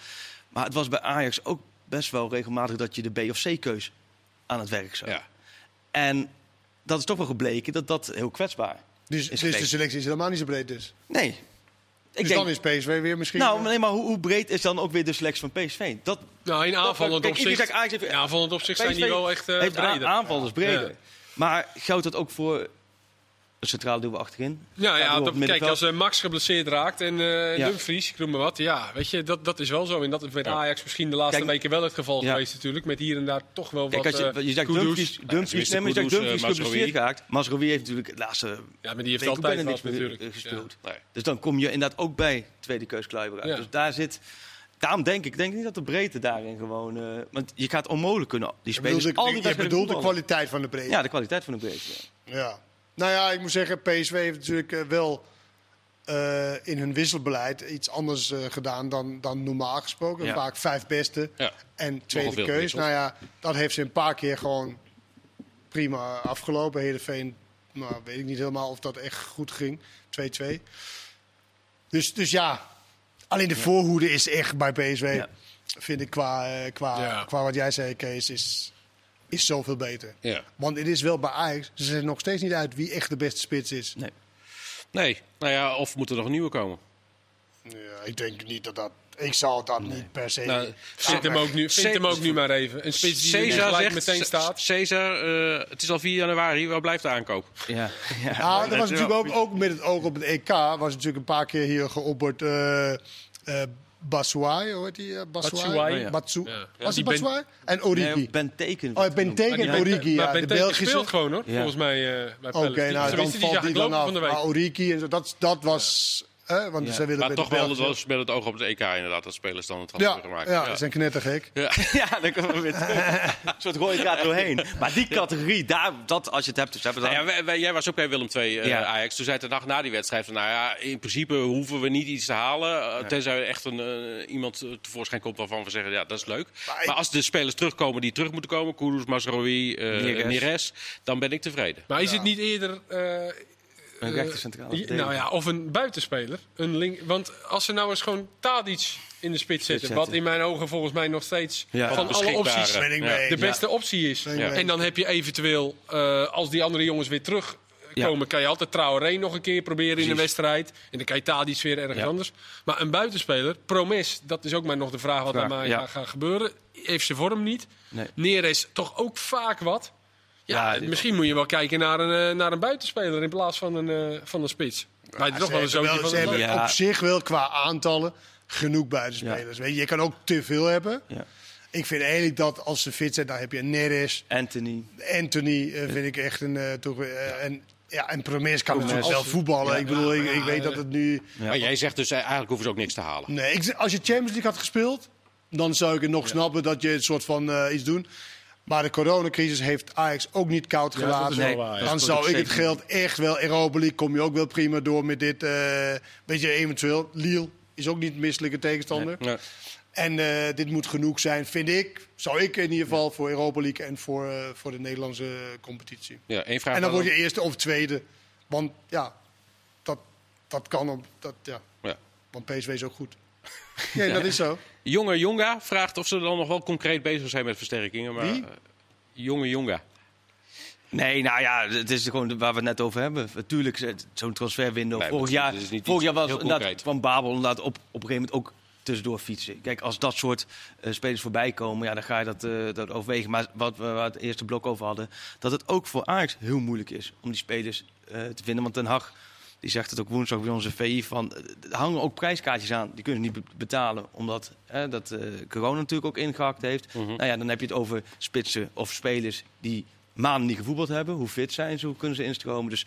S4: Maar het was bij Ajax ook best wel regelmatig dat je de B of C keus aan het werk zag.
S1: Ja.
S4: En dat is toch wel gebleken dat dat heel kwetsbaar
S3: dus
S4: is
S3: dus de
S4: geweest.
S3: selectie is helemaal niet zo breed dus.
S4: Nee. Ik
S3: dus dan is PSV weer misschien... eh,
S4: nou, nee, maar hoe, hoe breed is dan ook weer de selectie van PSV? Dat,
S2: Nou, in aanvallend
S4: Kijk, iedereen
S2: opzicht.
S4: zegt Ajax heeft-
S2: Ja, aanvallend opzicht zijn
S4: PSV
S2: die wel echt. eh,
S4: heeft een
S2: breder.
S4: aanval, dus breder.
S2: Ja.
S4: Maar geldt dat ook voor een centrale duwen achterin.
S2: Ja,
S4: Centrale
S2: ja
S4: duwen op
S2: dat,
S4: het
S2: kijk,
S4: middenveld.
S2: als eh, Max geblesseerd raakt en eh
S4: Ja.
S2: Dumfries, ik noem maar wat. Ja, weet je, dat, dat is wel zo. En dat is met
S1: Ja.
S2: Ajax misschien de laatste
S4: Kijk,
S2: weken wel het geval
S4: ja.
S2: geweest natuurlijk. Met hier en daar toch wel
S4: Kijk,
S2: wat
S4: als je,
S2: eh,
S4: je zegt
S2: kudos.
S4: Dumfries, Dumfries,
S1: tenminste
S4: nee, maar je zegt
S1: Kudus,
S4: Dumfries
S1: eh, Mazraoui.
S4: geblesseerd geraakt. Mazraoui heeft natuurlijk het laatste
S2: Ja, maar die heeft
S4: week ook bijna
S2: altijd
S4: niks
S2: wat
S4: meer
S2: natuurlijk.
S4: eh, gespeeld.
S1: Ja. Nee.
S4: Dus dan kom je inderdaad ook bij tweede keus Kluivert uit.
S2: Ja.
S4: Dus daar zit... Daarom denk ik, denk ik niet dat de breedte daarin gewoon... eh, want je gaat onmogelijk kunnen... Die
S3: Je
S4: spelers
S3: bedoelt,
S4: al die
S3: de, je
S4: wedstrijden
S3: bedoelt de
S4: voetballen.
S3: kwaliteit van de breedte.
S4: Ja, de kwaliteit van de breedte. ja.
S3: Ja. Nou ja, ik moet zeggen, PSV heeft natuurlijk eh, wel eh, in hun wisselbeleid iets anders eh, gedaan dan, dan normaal gesproken.
S4: Ja.
S3: Vaak vijf beste
S1: Ja.
S3: en tweede
S1: veel
S3: keus.
S1: gewisseld.
S3: Nou ja, dat heeft ze een paar keer gewoon prima afgelopen. Heerenveen, nou weet ik niet helemaal of dat echt goed ging. 2-2. Dus, dus ja, alleen de voorhoede is echt bij PSV,
S4: Ja.
S3: vind ik, qua, eh, qua,
S2: Ja.
S3: qua wat jij zei, Kees, is, is zoveel beter.
S1: Ja.
S3: Want het is wel bij Ajax. Ze zijn nog steeds niet uit wie echt de beste spits is.
S4: Nee.
S1: Nee, nou ja, of moet er nog een nieuwe komen?
S3: Ja, ik denk niet dat dat. Ik zou dat niet per se.
S1: Nou,
S2: Vindt hem ook nu, vindt hem ook nu maar even. Een spits die er
S1: Cesar
S2: gelijk
S1: zegt,
S2: meteen staat.
S1: Cesar, eh, het is al 4 januari, waar blijft de aankoop?
S4: Ja, ja.
S3: Ja, dat was
S1: Ja.
S3: natuurlijk ook, ook met het oog op het EK. Was het natuurlijk een paar keer hier geopperd. eh eh Batshuayi, hoe heet die? eh,
S2: Batshuayi.
S3: Batshuayi.
S2: Ja.
S3: Batsu-
S2: Ja.
S3: Was
S2: Die
S3: het
S2: Ben-
S3: Batshuayi? En Origi.
S4: Nee, ben teken.
S3: Oh, Benteke en
S2: Maar die
S3: Origi, ja, de
S2: Benteke
S3: Belgische.
S2: speelt gewoon hoor,
S4: Ja.
S2: volgens mij eh bij
S3: Oké,
S2: Palace. Die-
S3: nou dan
S2: tenminste,
S3: valt
S2: zag
S3: die
S2: ik
S3: dan
S2: lopen
S3: af.
S2: van de week.
S3: Maar Origi en zo, dat, dat was. hè, want
S4: Ja.
S3: ze willen
S1: Maar
S3: met
S1: toch
S3: de
S1: wel het
S3: Belgische-
S1: was met het oog op het EK inderdaad, dat spelers dan het transfer
S3: Ja,
S1: gaan maken.
S3: ja, ze zijn knettergek.
S4: Ja, dan komen we weer terug. Een soort rode kaart doorheen. Maar die categorie, daar, dat, als je het hebt, dus hebben we
S1: Nou
S4: dan...
S1: ja, wij- wij- jij was ook bij Willem II eh,
S4: Ja.
S1: Ajax. Toen zei de dag na die wedstrijd van, nou ja, in principe hoeven we niet iets te halen. eh, Tenzij er echt een, eh, iemand eh, tevoorschijn komt waarvan we zeggen, ja, dat is leuk. Maar,
S3: ik-
S1: als de spelers terugkomen die terug moeten komen, Kudus, Masroi, eh
S4: Neres.
S1: Neres. dan ben ik tevreden.
S2: Maar is het niet eerder... eh,
S4: Een rechter centrale
S2: Ja,
S4: verdediger.
S2: nou ja, of een buitenspeler. Een link, want als ze nou eens gewoon Tadic in de spits zetten,
S4: zetten.
S2: wat in mijn ogen volgens mij nog steeds
S4: Ja.
S2: van alle
S1: Beschikbare.
S2: opties
S3: Ben ik
S1: Ja.
S3: mee.
S2: de beste optie is.
S3: Ja.
S2: En dan heb je eventueel, eh, als die andere jongens weer terugkomen, kan je altijd Traoré nog een keer proberen in de
S4: Precies.
S2: wedstrijd. En dan kan je Tadic weer ergens
S4: Ja.
S2: anders. Maar een buitenspeler, Promes, dat is ook maar nog de vraag wat
S4: Vraag,
S2: er maar
S4: ja.
S2: gaat gebeuren. Heeft zijn vorm niet.
S4: Nee.
S2: Neres toch ook vaak wat. Ja,
S4: Ja, die-
S2: misschien moet je wel kijken naar een, eh, naar een buitenspeler in plaats van een, eh, van een spits. Maar het is
S3: Ja,
S2: toch
S3: ze
S2: wel een zootje
S3: hebben
S2: van
S3: wel- ze
S2: het
S3: hebben
S4: Ja.
S3: op zich wel qua aantallen genoeg buitenspelers. Weet je, je kan ook te veel hebben.
S4: Ja.
S3: Ik vind eigenlijk dat als ze fit zijn, dan heb je Neres,
S4: Anthony.
S3: Anthony eh, vind ik echt een eh, toch eh, en ja en Promes kan
S4: Promes.
S3: natuurlijk wel voetballen. ik bedoel, ik, ik weet dat het nu.
S4: Ja.
S1: Maar jij zegt dus, eh, eigenlijk hoeven ze ook niks te halen.
S3: Nee, ik, als je Champions League had gespeeld, dan zou ik het nog snappen dat je een soort van eh, iets doen. Maar de coronacrisis heeft Ajax ook niet koud
S2: dat is
S3: gelaten.
S2: wel
S4: Nee,
S2: waar, ja.
S3: Dan
S4: dat
S3: zou
S4: klopt
S3: ik
S4: ook
S3: het
S4: zeker.
S3: geld echt wel. Europa League kom je ook wel prima door met dit. eh weet je, eventueel. Lille is ook niet een misselijke tegenstander.
S1: Nee.
S3: En eh, dit moet genoeg zijn, vind ik. Zou ik in ieder geval voor Europa League en voor, eh, voor de Nederlandse competitie.
S1: Ja, één vraag.
S3: en dan
S1: maar
S3: word je eerste of tweede. Want ja, dat, dat kan. Op, dat, ja.
S1: Ja.
S3: Want PSV is ook goed. Nee, dat is zo.
S1: Jonge Jonga vraagt of ze dan nog wel concreet bezig zijn met versterkingen. Maar,
S3: Wie?
S1: eh, Jonge Jonga.
S4: Nee, nou ja, het is gewoon waar we het net over hebben. Tuurlijk, ze- zo'n transferwindow.
S1: Nee,
S4: vorig
S1: maar
S4: jaar,
S1: het is niet
S4: vorig jaar
S1: iets
S4: was
S1: heel
S4: inderdaad
S1: concreet.
S4: van Babel inderdaad op, op een gegeven moment ook tussendoor fietsen. Kijk, als dat soort eh, spelers voorbij komen, ja, dan ga je dat, eh, dat overwegen. Maar wat we waar het eerste blok over hadden, dat het ook voor Ajax heel moeilijk is om die spelers eh, te vinden. Want Den Haag, die zegt het ook woensdag bij onze VI, van, eh, er hangen ook prijskaartjes aan. Die kunnen ze niet be- betalen, omdat eh, dat, eh, corona natuurlijk ook ingehakt heeft. Nou ja, dan heb je het over spitsen of spelers die maanden niet gevoetbald hebben. Hoe fit zijn ze, hoe kunnen ze instromen. Dus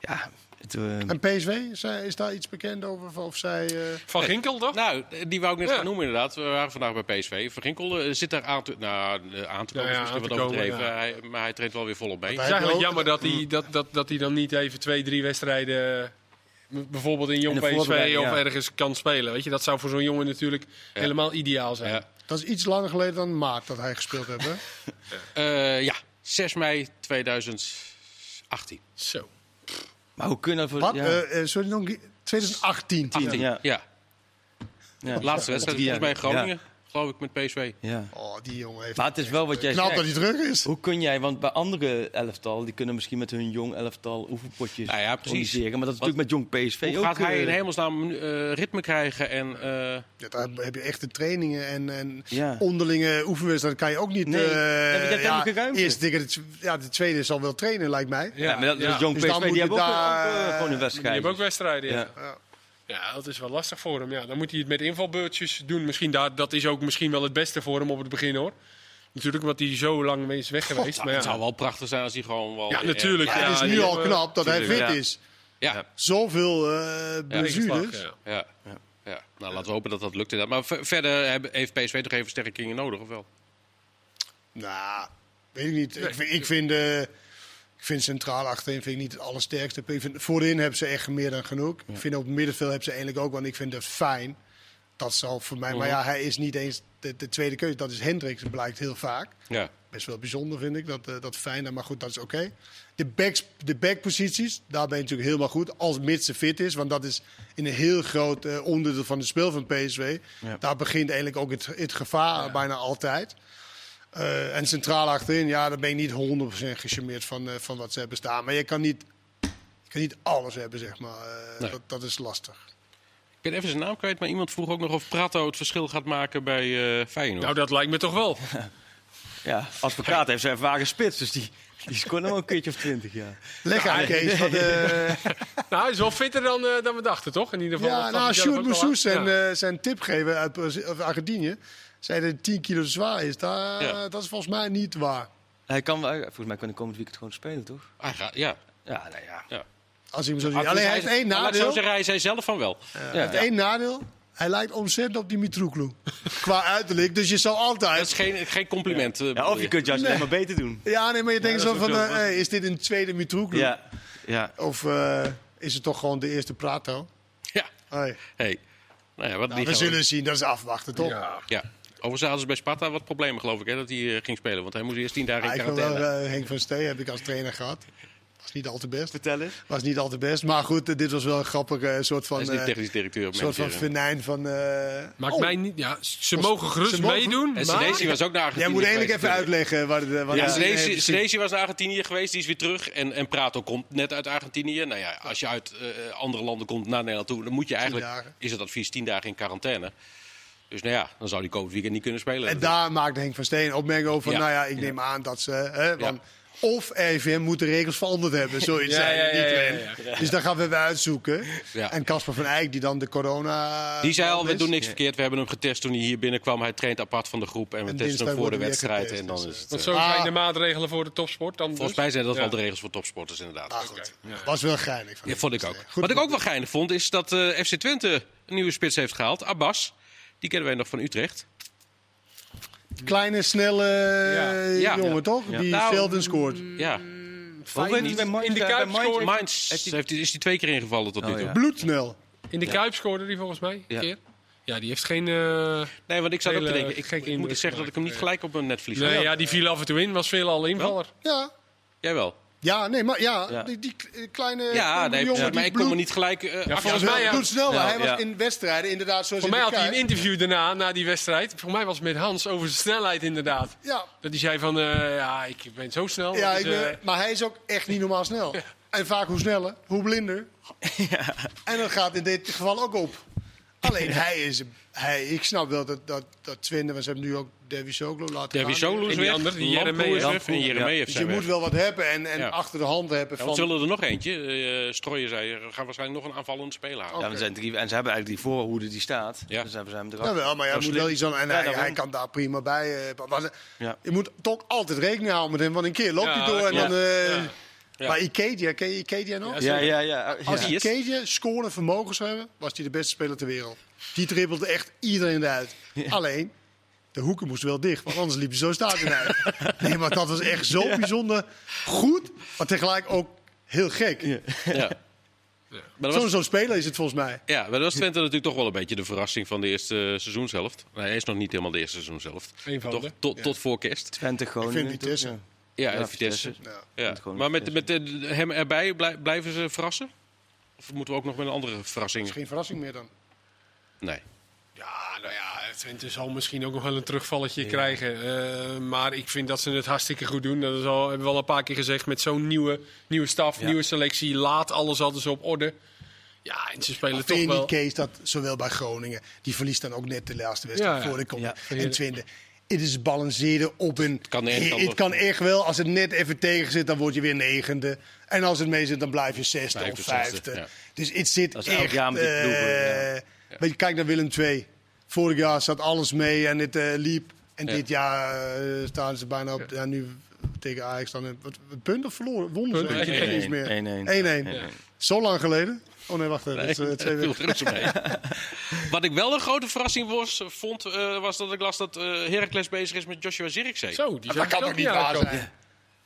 S4: ja, het... eh,
S3: En PSV, is, eh, is daar iets bekend over? Of zij, eh,
S2: Van Ginkel toch?
S1: Nou, die wou ik net
S2: Ja.
S1: gaan noemen inderdaad. We waren vandaag bij PSV. Van Ginkel eh, zit daar aan te, nou, eh, aan te komen.
S2: ja,
S1: is misschien
S2: aan te
S1: wat overdreven.
S2: komen, ja.
S1: Hij- maar hij traint wel weer volop mee.
S2: Het
S3: hij-
S2: is eigenlijk
S3: ook-
S2: jammer dat hij, dat, dat, dat hij dan niet even twee, drie wedstrijden... eh, m- Bijvoorbeeld in jong
S4: In de
S2: PSV
S4: voorbereiding,
S2: of
S4: ja.
S2: ergens kan spelen. Weet je, dat zou voor zo'n jongen natuurlijk helemaal ideaal zijn.
S1: Ja.
S3: dat is iets langer geleden dan maart dat hij gespeeld heeft. Hè?
S1: Eh, ja, 6 mei 2018.
S2: Zo.
S4: Maar hoe kunnen we... voor-
S3: Wat?
S4: Ja,
S3: Eh, eh, sorry, nog een keer. 2018.
S4: 18, ja.
S1: Ja,
S4: ja.
S1: laatste wedstrijd volgens mij in Groningen. geloof ik, met PSV.
S4: Ja.
S3: Oh, die jongen heeft...
S4: Maar het is wel wat jij
S3: Knap dat hij
S4: zegt.
S3: terug is.
S4: Hoe kun jij, want bij andere elftal, die kunnen misschien met hun jong elftal oefenpotjes
S1: Nou ja, precies.
S4: organiseren. Maar dat is
S1: Wat-
S4: natuurlijk met jong PSV
S1: Hoe
S4: ook.
S1: gaat hij
S4: eh,
S1: in hemelsnaam eh, ritme krijgen en... eh,
S3: Ja, daar heb je echte trainingen en, en
S4: Ja.
S3: onderlinge oefenwedstrijden. Dat kan je ook niet...
S4: Nee,
S3: eh,
S4: daar heb je helemaal geen ruimte.
S3: Eerst dikke, de tw- ja, de tweede zal wel trainen, lijkt mij.
S4: Ja, maar dat dat is
S2: ja.
S4: jong
S3: Dus dan
S4: PSV.
S3: moet
S4: Die
S3: je
S4: hebben ook,
S3: daar-
S4: ook, eh, gewoon een
S2: Die
S4: wedstrijd.
S2: hebben ook wedstrijden. Ja.
S4: Ja.
S2: Ja. dat is wel lastig voor hem. Ja, dan moet hij het met invalbeurtjes doen. Misschien daar, dat is ook misschien wel het beste voor hem op het begin hoor. Natuurlijk, omdat hij zo lang is weg geweest. maar ja.
S1: Het zou wel prachtig zijn als hij gewoon wel... eh,
S2: Ja, natuurlijk.
S3: Ja, het is
S2: Ja,
S3: nu
S2: die
S3: al
S2: hebben-
S3: knap dat hij fit
S4: tuurlijk, ja.
S3: is.
S1: Ja, ja.
S3: Zoveel eh
S2: tegenslag,
S4: dus.
S3: blessures.
S2: ja.
S1: ja. Ja. Nou, laten we hopen dat dat lukt. inderdaad. Maar ver- verder hebben- heeft PSV toch even versterkingen nodig, of wel?
S3: Nou, weet ik niet. Ik, vind- ik, vind, eh, ik vind centraal achterin vind ik niet het allersterkste. Ik vind, voorin hebben ze echt meer dan genoeg. Ik vind op het middenveld hebben ze eigenlijk ook, want ik vind dat fijn. Dat zal voor mij. Maar ja, hij is niet eens de, de tweede keuze. Dat is Hendricks, dat blijkt heel vaak.
S1: Ja.
S3: Best wel bijzonder vind ik dat, eh, dat fijn, maar goed, dat is oké. De, backs, de backposities, daar ben je natuurlijk helemaal goed. Als mits ze fit is, want dat is in een heel groot eh, onderdeel van het spel van PSV. Daar begint eigenlijk ook het, het gevaar bijna altijd. Eh, en centraal achterin, ja, daar ben ik niet 100% gecharmeerd van, eh, van wat ze hebben staan. Maar je kan niet, je kan niet alles hebben, zeg maar. Eh,
S1: Nee.
S3: dat, dat is lastig.
S1: Ik ben even zijn naam kwijt, maar iemand vroeg ook nog of Prato het verschil gaat maken bij eh, Feyenoord.
S2: Nou, dat lijkt me toch wel.
S4: Ja, advocaat heeft zijn ervaren spits, dus die, die scoort nog wel een keertje of twintig, ja.
S3: Leg aan, Kees. Wat, eh,
S2: nou, hij is wel fitter dan, eh, dan we dachten, toch? In ieder geval.
S3: Ja,
S2: dat gaf
S3: nou,
S2: hij zelf
S3: Sjoerd
S2: ook al aan.
S3: Moussous zijn,
S2: Ja.
S3: eh, zijn tipgever uit Brazi- of Argentinië zei dat het 10 kilo te zwaar is. Daar, eh,
S1: Ja.
S3: Dat is volgens mij niet waar.
S4: Hij kan, wel- volgens mij kan hij komend weekend gewoon spelen, toch?
S1: Hij gaat- Ah, ja.
S4: Ja, nou ja.
S3: Als ik hem zo zie. Alleen hij heeft één
S1: Laat ik Zo
S3: nadeel.
S1: zeggen, hij zei zelf van wel.
S4: Ja,
S3: Hij heeft één nadeel. Hij lijkt ontzettend op die Mitroglou. Qua uiterlijk. Dus je zal
S1: Dat is
S3: altijd...
S1: geen, geen compliment. eh,
S4: Ja,
S1: bedoel
S4: of je kunt juist alleen maar beter doen.
S3: Ja, nee, maar je denkt
S2: dat
S3: zo
S2: is
S3: van...
S2: ook
S3: eh,
S2: zo.
S3: hey, is dit een tweede Mitroglou?
S4: Ja, ja.
S3: Of eh, is het toch gewoon de eerste Prato?
S1: Ja.
S3: Hey.
S1: Hey. Nou ja, wat die
S3: We
S1: gaan
S3: zullen zien. Dat is afwachten, toch?
S2: Ja.
S1: Ja. Overigens hadden ze bij Sparta wat problemen, geloof ik, hè, dat hij eh, ging spelen. Want hij moest eerst tien dagen
S3: Ja,
S1: in
S3: ik wil
S1: quarantaine.
S3: wel, eh, Henk van Stee heb ik als trainer gehad. Was niet al te best.
S4: Vertel eens.
S3: Was niet al te best. Maar goed, eh, dit was wel een grappig eh, soort van...
S1: hij is niet
S3: eh,
S1: technisch directeur op
S3: Een soort van
S1: manager.
S3: venijn van. eh,
S2: Maakt
S3: oh,
S2: mij niet. Ja, ze mogen gerust
S3: mogen-
S2: meedoen.
S1: En
S2: maar-
S1: Senesi was ook naar Argentinië
S3: Jij moet eigenlijk
S1: geweest,
S3: even uitleggen eh, waar de. Waar
S1: Ja,
S3: de- nee,
S1: Senesi-
S3: precies.
S1: Senesi was naar Argentinië geweest, die is weer terug. En, en Prato komt net uit Argentinië. Nou ja, als je uit eh, andere landen komt naar Nederland toe, dan moet je eigenlijk,
S3: dagen.
S1: is het advies, tien dagen in quarantaine. Dus nou ja, dan zou die komend weekend niet kunnen spelen.
S3: En daar maakte Henk van Steen een opmerking over. van,
S1: Ja.
S3: Nou ja, ik neem aan dat ze. Hè, want Of RIVM moet de regels veranderd hebben. Zoiets
S2: Ja,
S3: zijn
S2: ja,
S3: niet
S2: ja, ja,
S3: Len. Dus daar gaan we even uitzoeken.
S1: Ja.
S3: En Casper van Eyck, die dan de corona.
S1: Die zei al, we
S3: is.
S1: doen niks verkeerd. We hebben hem getest toen hij hier binnenkwam. Hij traint apart van de groep en we
S3: En
S1: testen hem
S3: dinsdag
S1: voor de
S3: wordt hij weer
S1: wedstrijd. En
S3: getest,
S1: dan
S3: dus,
S1: is het...
S2: Want
S1: eh,
S2: zo zijn
S3: Ah.
S2: de maatregelen voor de topsport. Dan
S1: volgens
S2: dus.
S1: mij zijn dat
S2: Ja.
S1: wel de regels voor topsporters inderdaad.
S3: Ah, goed. Was wel geinig. Van
S1: Ja,
S3: Henk
S1: vond ik
S3: van
S1: ook.
S3: Steen. Goed
S1: Wat ik ook
S3: voorbeeld.
S1: wel geinig vond, is dat eh, FC Twente een nieuwe spits heeft gehaald. Abbas. Die kennen wij nog van Utrecht.
S3: Kleine, snelle eh,
S1: Ja.
S3: jongen,
S1: Ja.
S3: toch? Die
S1: Nou,
S3: Velden scoort.
S1: Ja.
S4: Hoe weet hij bij Mainz-
S2: In de
S4: bij
S2: Kuip
S4: Mainz-
S2: scoren.
S1: Mainz heeft die- is die twee keer ingevallen tot nu
S4: Oh,
S1: toe.
S4: ja.
S3: Bloedsnel.
S2: In de Kuip scoorde die volgens mij.
S4: Ja.
S2: Ja. Keer. ja, die heeft geen. eh,
S1: Nee, want ik zat ook te
S2: Hele
S1: denken. Ik,
S2: gekke
S1: ik moet
S2: indruk
S1: eens zeggen dat ik hem niet gelijk op mijn netvlies had.
S2: nee, ja, die viel af en toe in. Was veel al invaller.
S3: Ja.
S1: Jij wel.
S3: Ja, nee, maar ja,
S4: Ja.
S3: Die, die k- kleine.
S1: Ja,
S3: blonde
S1: nee,
S3: jongen
S1: maar
S3: die
S1: ik kon me
S3: bloed-
S1: niet gelijk... eh,
S2: Ja,
S1: achter-
S2: volgens mij, ja.
S3: Doet snel, maar
S4: Ja,
S3: hij was
S4: ja.
S3: in wedstrijden inderdaad zoals
S2: Voor mij
S3: Dus in
S2: had
S3: de
S2: hij een
S3: Kuip.
S2: interview daarna, na die wedstrijd. Voor mij was het met Hans over zijn snelheid inderdaad.
S3: Ja,
S2: Dat hij zei van, eh, ja, ik ben zo snel.
S3: ja
S2: dus,
S3: ik ben-
S2: eh,
S3: maar hij is ook echt niet normaal snel. En vaak hoe sneller, hoe blinder. En dat gaat in dit geval ook op. Alleen hij is... Hij, ik snap wel dat, dat, dat Twente, want ze hebben nu ook Davy Soglo laten
S1: Davy
S3: gaan.
S1: Solo is
S2: En die
S1: weg.
S2: andere, die
S1: Lamproe
S2: Jeremejeff.
S1: is weg En
S4: Ja.
S1: Jeremejeff
S3: Dus
S1: zijn
S3: je
S1: weg.
S3: moet wel wat hebben en, en
S1: Ja.
S3: achter de hand hebben
S1: Ja,
S3: van...
S1: want ze willen er nog eentje. Eh Strooijer zei, er gaan waarschijnlijk nog een aanvallend speler halen.
S4: Ja, maar er zijn drie, en ze hebben eigenlijk die voorhoede die staat.
S1: Ja.
S4: Dus hebben ze hem eraf.
S3: Jawel, maar jij moet Nou, wel iets aan... En hij,
S4: daarom.
S3: hij kan daar prima bij. eh, pa- maar-
S4: Ja.
S3: Je moet toch altijd rekening houden met hem, want een keer loopt
S2: Ja,
S3: hij door en
S2: ja.
S3: dan... eh,
S2: Ja.
S1: Ja.
S3: Maar Ikedia, ken je Ikedia nog?
S4: Ja, ja, ja.
S3: Als
S4: ja.
S1: die-
S3: hij Keetje scoren en vermogen zou hebben, was hij de beste speler ter wereld. Die dribbelde echt iedereen eruit. Alleen, de hoeken moesten wel dicht, want anders liep hij zo stadion uit. Nee, maar dat was echt zo bijzonder goed, maar tegelijk ook heel gek.
S1: Ja. Maar dat was
S3: Oh. Zo'n zo'n speler is het volgens mij.
S1: Ja, maar dat was Twente natuurlijk toch wel een beetje de verrassing van de eerste eh, seizoenshelft. Nee, hij is nog niet helemaal de eerste seizoenshelft.
S2: Een van de.
S1: Toch, tot, tot voor kerst.
S4: Twente
S3: Ik
S4: Groningen.
S3: vind Vitesse.
S4: toch?
S1: Ja,
S4: Ja,
S1: en Vitesse.
S3: Ja.
S4: Vitesse.
S1: Ja.
S4: Twente gewoon
S1: Maar met, met eh, hem erbij blij- blijven ze verrassen? Of moeten we ook nog met een andere verrassing?
S3: Geen verrassing meer dan.
S1: Nee.
S2: ja, nou ja, Twente zal misschien ook nog wel een terugvalletje krijgen. Eh, maar ik vind dat ze het hartstikke goed doen. Dat is al, hebben we al een paar keer gezegd. Met zo'n nieuwe, nieuwe staf,
S4: Ja.
S2: nieuwe selectie. Laat alles altijd zo op orde. Ja, en ze spelen
S3: Vind
S2: toch
S3: je
S2: wel...
S3: niet, Kees, dat zowel bij Groningen... die verliest dan ook net de laatste wedstrijd
S2: Ja, ja.
S3: voor de kom.
S4: Ja.
S3: En Twente. Het is balanceren op een... Het
S1: kan echt anders.
S3: het kan echt wel. Als het net even tegen zit, dan word je weer negende. En als het mee zit, dan blijf je zesde
S1: Blijf
S3: of
S1: je zesde,
S3: vijfde.
S1: ja.
S3: Dus het zit
S4: Dat is elk
S3: echt...
S4: jaar met die
S3: eh,
S4: ploegen, ja.
S3: Weet je, kijk naar Willem II. Vorig jaar zat alles mee en het eh, liep. En
S1: Ja.
S3: dit jaar eh, staan ze bijna op... Ja. nu tegen Ajax dan... een- Wat, wat punten verloren? Wonnen ze?
S2: Punten,
S3: Ik weet het niet meer.
S4: 1-1.
S3: 1-1. Zo lang geleden? Oh nee, wacht even.
S1: Nee,
S3: Het is, eh, twee
S1: viel
S3: weken.
S1: reuze mee. Wat ik wel een grote verrassing was, vond, eh, was dat ik las dat eh Heracles bezig is met Joshua Zirkzee.
S2: Zo, die
S3: Dat
S2: zijn
S3: kan
S2: ook
S3: toch niet
S2: aan
S3: waar
S2: het komen.
S3: zijn?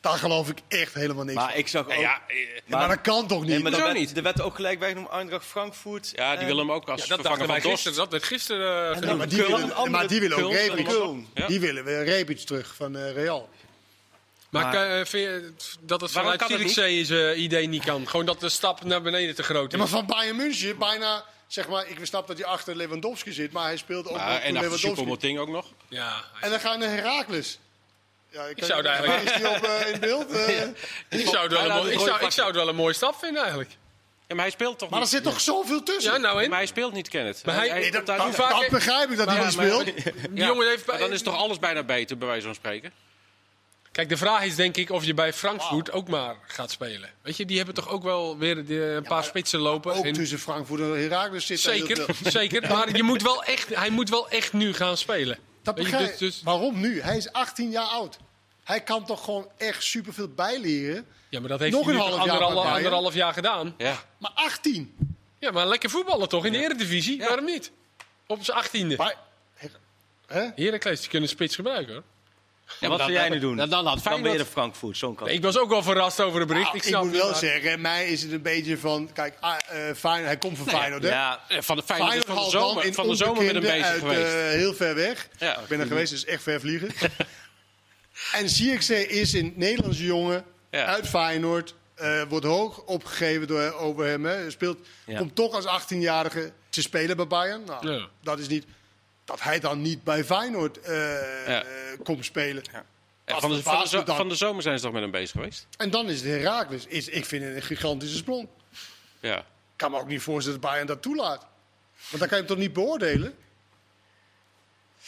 S3: Daar geloof ik echt helemaal niks
S4: Maar
S3: van.
S4: ik zag ook...
S1: Nou ja, eh,
S3: Ja, maar dat kan toch niet?
S4: Nee, maar
S1: Hoezo
S4: dat werd,
S1: niet?
S4: Er werd ook gelijk weggenomen Eindracht Frankfurt.
S1: ja, die
S4: eh,
S1: willen hem ook als
S2: Ja, dat
S1: vervanger
S2: dachten
S1: van
S2: wij
S1: Dost.
S2: gisteren. Dat werd gisteren... eh,
S3: Ja,
S4: en
S3: nou,
S4: dan
S3: maar die
S4: Köln,
S3: willen-
S4: een andere
S3: maar die willen ook
S4: Köln van
S3: Rebic.
S4: Köln.
S1: Ja.
S3: Die willen weer Rebic terug van eh, Real.
S2: Maar,
S4: Maar-
S2: kan- eh, vind je dat het
S1: Waarom
S2: vanuit
S1: kan het
S2: Felix zijn eh, idee niet kan? Gewoon dat de stap naar beneden te groot
S3: Ja,
S2: is.
S3: maar van Bayern München bijna... Zeg maar, ik snap dat hij achter Lewandowski zit, maar hij speelt ook
S1: Ja,
S3: nog
S1: en
S3: voor
S1: achter
S3: Lewandowski.
S1: Supermoting ook nog.
S2: Ja,
S3: En dan gaan de Herakles. Ja,
S2: Ik zou daar eigenlijk-
S3: Is die op eh, in beeld? Eh,
S2: ik zou, het wel
S1: Hij laat
S2: een mooi-
S1: het
S2: ik,
S1: rood
S2: zou, ik
S1: pakken.
S2: zou het wel een mooie stap vinden eigenlijk.
S1: Ja, maar hij speelt toch
S3: Maar er
S1: niet?
S3: zit toch zoveel tussen?
S2: Ja, nou
S1: Maar
S2: in.
S1: hij speelt niet, Kenneth.
S2: Maar hij- nee,
S3: Nee, dat,
S1: komt daar
S3: dat-
S1: niet
S2: hoe
S1: uit.
S2: vaak-
S3: dat begrijp ik dat hij niet
S1: Maar- maar-
S3: speelt.
S2: Die jongen heeft bij-
S1: Maar dan is toch alles bijna beter, bij wijze van spreken?
S2: Kijk, de vraag is denk ik of je bij Frankfurt ook maar gaat spelen. Weet je, die hebben toch ook wel weer de- een paar spitsen lopen.
S3: Ook dus-
S2: En-
S3: tussen Frankfurt en Herakles zit daar heel
S2: zeker,
S3: veel.
S2: zeker. Maar je moet wel echt, hij moet wel echt nu gaan spelen.
S3: Dat
S2: Weet je,
S3: begrijp ik.
S2: dus- dus-
S3: Waarom nu? Hij is 18 jaar oud. Hij kan toch gewoon echt superveel bijleren.
S2: ja, maar dat heeft
S3: Nog
S2: hij nu
S3: een
S2: toch
S3: half jaar
S2: anderhalf,
S3: bij, hè?
S2: anderhalf jaar gedaan.
S1: Ja.
S3: Maar 18.
S2: Ja, maar lekker voetballen toch in de Eredivisie? Waarom niet? Op zijn achttiende.
S3: Maar, hè?
S2: Heracles, die kunnen spits gebruiken hoor.
S1: Ja,
S4: wat
S2: Nou,
S1: dan-
S4: zou jij
S1: dan-
S4: nu doen?
S1: Dan, dan had
S4: Dan
S1: Feyenoord...
S4: weer de Frankfurt, zo'n kant.
S2: Nee, ik was ook wel verrast over het bericht.
S3: Nou,
S2: ik
S3: ik,
S2: snap
S3: moet
S2: het,
S3: wel
S2: maar-
S3: zeggen, mij is het een beetje van... Kijk, ah, eh, Feyenoord, hij komt van Feyenoord, hè?
S4: Ja,
S1: Eh, Van de Feyenoord is
S3: Feyenoord
S1: van de
S3: haalt dan
S1: zomer,
S3: een
S1: van de zomer met hem
S3: onbekende
S1: bezig
S3: uit,
S1: geweest.
S3: eh, heel ver weg.
S1: Ja.
S3: Ik ben er geweest, dus echt ver vliegen. en CXC is een Nederlandse jongen
S1: Ja.
S3: uit Feyenoord. eh, wordt hoog opgegeven door, over hem. Hè. Speelt,
S4: Ja.
S3: Komt toch als 18-jarige te spelen bij Bayern. Nou,
S2: Ja.
S3: Dat is niet... Dat hij dan niet bij Feyenoord eh,
S1: Ja.
S3: eh, komt spelen.
S1: Eh,
S3: dat
S1: van, de, van, de
S3: verbaast
S1: zo-
S3: me dan.
S1: van de zomer zijn ze toch met hem bezig geweest?
S3: En dan is het Herakles. Is, ik vind het een gigantische sprong.
S1: Ja.
S3: Ik kan me ook niet voorstellen dat Bayern dat toelaat. Want dan kan je hem toch niet beoordelen?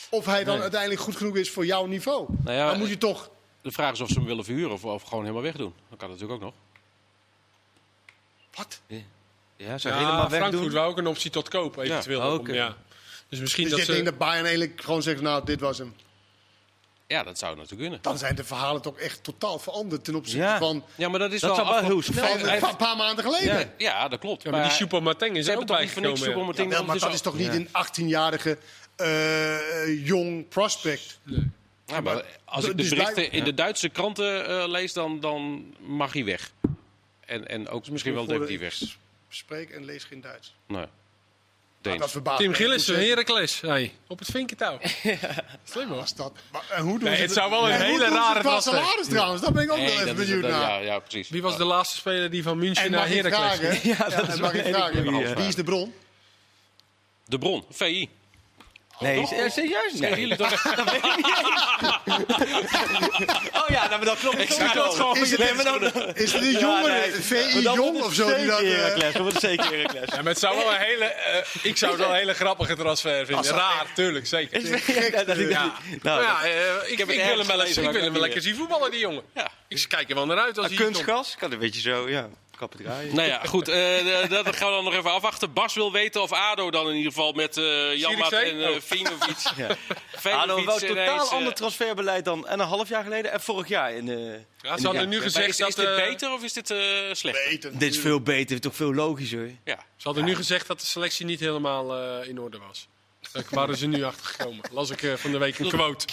S3: Of hij dan uiteindelijk goed genoeg is voor jouw niveau.
S1: Nou ja,
S3: dan moet je toch...
S1: De vraag is of ze hem willen verhuren of, of gewoon helemaal wegdoen. Dat kan natuurlijk ook nog.
S3: Wat? Dus
S4: ja zou
S2: Ja,
S4: helemaal weg
S2: Frankfurt
S4: doen.
S2: wou ook een optie tot koop eventueel.
S4: Ja,
S2: om-
S4: oké.
S2: ja. Dus misschien
S3: Dus
S2: dat
S3: je
S2: ze...
S3: denkt dat Bayern eigenlijk gewoon zegt, nou, dit was hem.
S1: Ja, dat zou natuurlijk kunnen.
S3: Dan zijn de verhalen toch echt totaal veranderd ten opzichte
S4: Ja.
S3: van,
S1: Ja, maar dat is
S4: Dat
S1: wel...
S4: zou wel heel
S1: afgelopen-
S3: van
S4: snel
S3: een
S4: zijn.
S3: pa- paar maanden geleden.
S4: Ja.
S1: Ja, dat klopt.
S2: Ja, maar die Super Mateng is
S1: ze
S2: er
S1: hebben
S2: ook
S1: toch niet voor niks
S2: bijgekomen. ja.
S1: Supermoting.
S3: Wel, maar dat is toch niet een 18-jarige eh, eh, jong prospect?
S1: Ja, maar als ik de
S3: Dus
S1: berichten
S3: wij-
S1: in de Duitse kranten eh, lees, dan, dan mag hij weg. En, en ook misschien wel
S3: voor de-
S1: definitief weg.
S3: Spreek en lees geen Duits.
S1: Nee.
S3: Nou, dat
S1: Deens.
S3: verbaast
S2: Tim
S3: me.
S2: Gillissen,
S3: Hoe ze-
S2: Heracles. Hey, op het vinkentouw. Slim hoor.
S3: was dat? Maar, en hoe doen
S2: Nee,
S3: ze
S2: het
S3: dat-
S2: zou wel een
S3: en hoe
S2: hele
S3: doen ze
S2: rare
S3: het qua
S2: tas zijn.
S3: salaris trouwens? Daar ben ik ook
S1: Nee,
S3: wel even
S1: dat is-
S3: benieuwd
S1: dat-
S3: naar.
S1: ja, ja, precies.
S2: Wie was de laatste speler die van München
S3: En
S2: naar
S3: mag ik
S2: Heracles ging?
S3: vragen?
S4: eh, Ja,
S3: en
S4: dat is wel eh,
S3: mag ik
S4: een
S3: vragen?
S4: hele goeie.
S3: Wie is de bron?
S1: De bron, VI.
S4: Nee, se- serieus?
S1: Zeggen
S4: Nee.
S1: jullie toch-
S4: Oh ja, nou, maar dat klopt. Ik Oh,
S3: Is het, is het een jongere, VI Jong of zo? Die dat, eh,
S4: Heracles, dat wordt zeker Heracles.
S2: Ja, maar het zou wel een hele, eh, ik zou het wel een hele grappige transfer vinden. Raar, tuurlijk, zeker.
S4: Ja, dat is-
S2: Ja. Maar
S4: Nou,
S2: ja, eh, ik, ik,
S1: het
S2: wil hem
S1: ergens
S2: wel eens,
S1: gelezen,
S2: ik
S1: maar
S2: wil hem
S1: ik
S2: wel
S1: weet
S2: lekker zien voetballen, die jongen.
S1: Ja.
S2: Ik kijk er wel naar uit als hij komt.
S4: kunstgas kan een beetje zo, ja. Kappen draaien.
S1: Nou ja, goed. eh, eh, dat gaan we dan nog even afwachten. Bas wil weten of ADO dan in ieder geval met eh Janmaat
S2: Zierikzee?
S1: en eh Veen of iets.
S4: Ja.
S1: Veen of
S4: ADO
S1: iets
S4: wel totaal
S1: ineens, eh,
S4: ander transferbeleid dan en een half jaar geleden en vorig jaar. In, eh,
S2: Ja, ze hadden nu
S1: maar
S2: gezegd
S1: is,
S2: dat...
S1: is dit
S2: eh,
S1: beter of is dit eh slecht?
S3: beter
S4: dit is veel beter, toch veel logischer.
S1: Ja.
S2: Ze hadden nu gezegd dat de selectie niet helemaal eh, in orde was. Daar waren ze nu achter gekomen. Las ik eh, van de week een quote.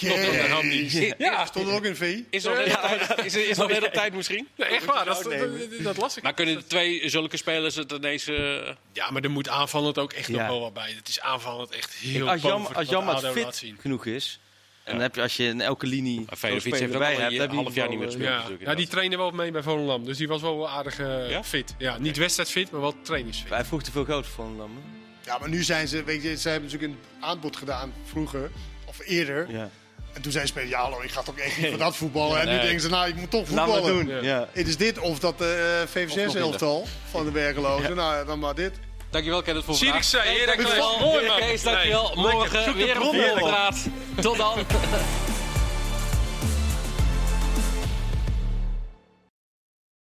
S3: Jezus.
S2: Ja,
S3: Stond er ook in VI?
S1: Is dat net op tijd- is- is dat net op tijd misschien?
S2: nee, echt waar. Dat,
S4: Moet je het
S2: dat, dat- dat las ik.
S1: Maar kunnen de twee zulke spelers het ineens... eh,
S2: Ja, maar er moet aanvallend ook echt
S4: Ja.
S2: nog wel wat bij. Het is aanvallend echt heel
S4: Als
S2: bang
S4: Jam,
S2: voor
S4: als
S2: wat
S4: Jam maar
S2: ADO laat
S4: fit
S2: zien.
S4: genoeg is, en dan heb je als je in elke linie
S1: Maar
S4: zo'n
S1: Velovic
S4: speler
S1: heeft ook
S4: erbij
S1: al een
S4: hebt, heb je in
S1: half jaar
S4: ieder
S1: niet
S4: geval,
S1: meer
S4: eh,
S2: Ja.
S1: natuurlijk,
S2: ja, die
S1: inderdaad.
S2: trainde wel mee bij Volendam. Dus die was wel aardig eh,
S1: Ja?
S4: eh,
S2: fit. Ja, niet wedstrijdfit, maar wel trainingsfit.
S4: Hij vroeg te veel geld van Lam.
S3: Ja, maar nu zijn ze, weet je, ze hebben natuurlijk een aanbod gedaan vroeger of eerder.
S4: Ja.
S3: En toen zei spelers, ja hallo, ik ga toch echt niet voor dat voetballen. en nu
S4: nee.
S3: denken ze, nou, ik moet toch
S4: Laten we
S3: voetballen.
S4: het doen.
S2: Ja.
S4: Ja.
S3: Het is dit of dat eh, VVS-elftal van de werklozen. Nou, dan maar dit.
S1: Dankjewel, Kenneth, voor
S2: Zie ik
S1: vandaag.
S2: zei, Erik,
S1: Dankjewel.
S2: mooi man.
S1: Kees,
S2: Nee.
S1: dankjewel. Morgen weer op de
S4: bron op.
S1: Volksraad. Tot dan.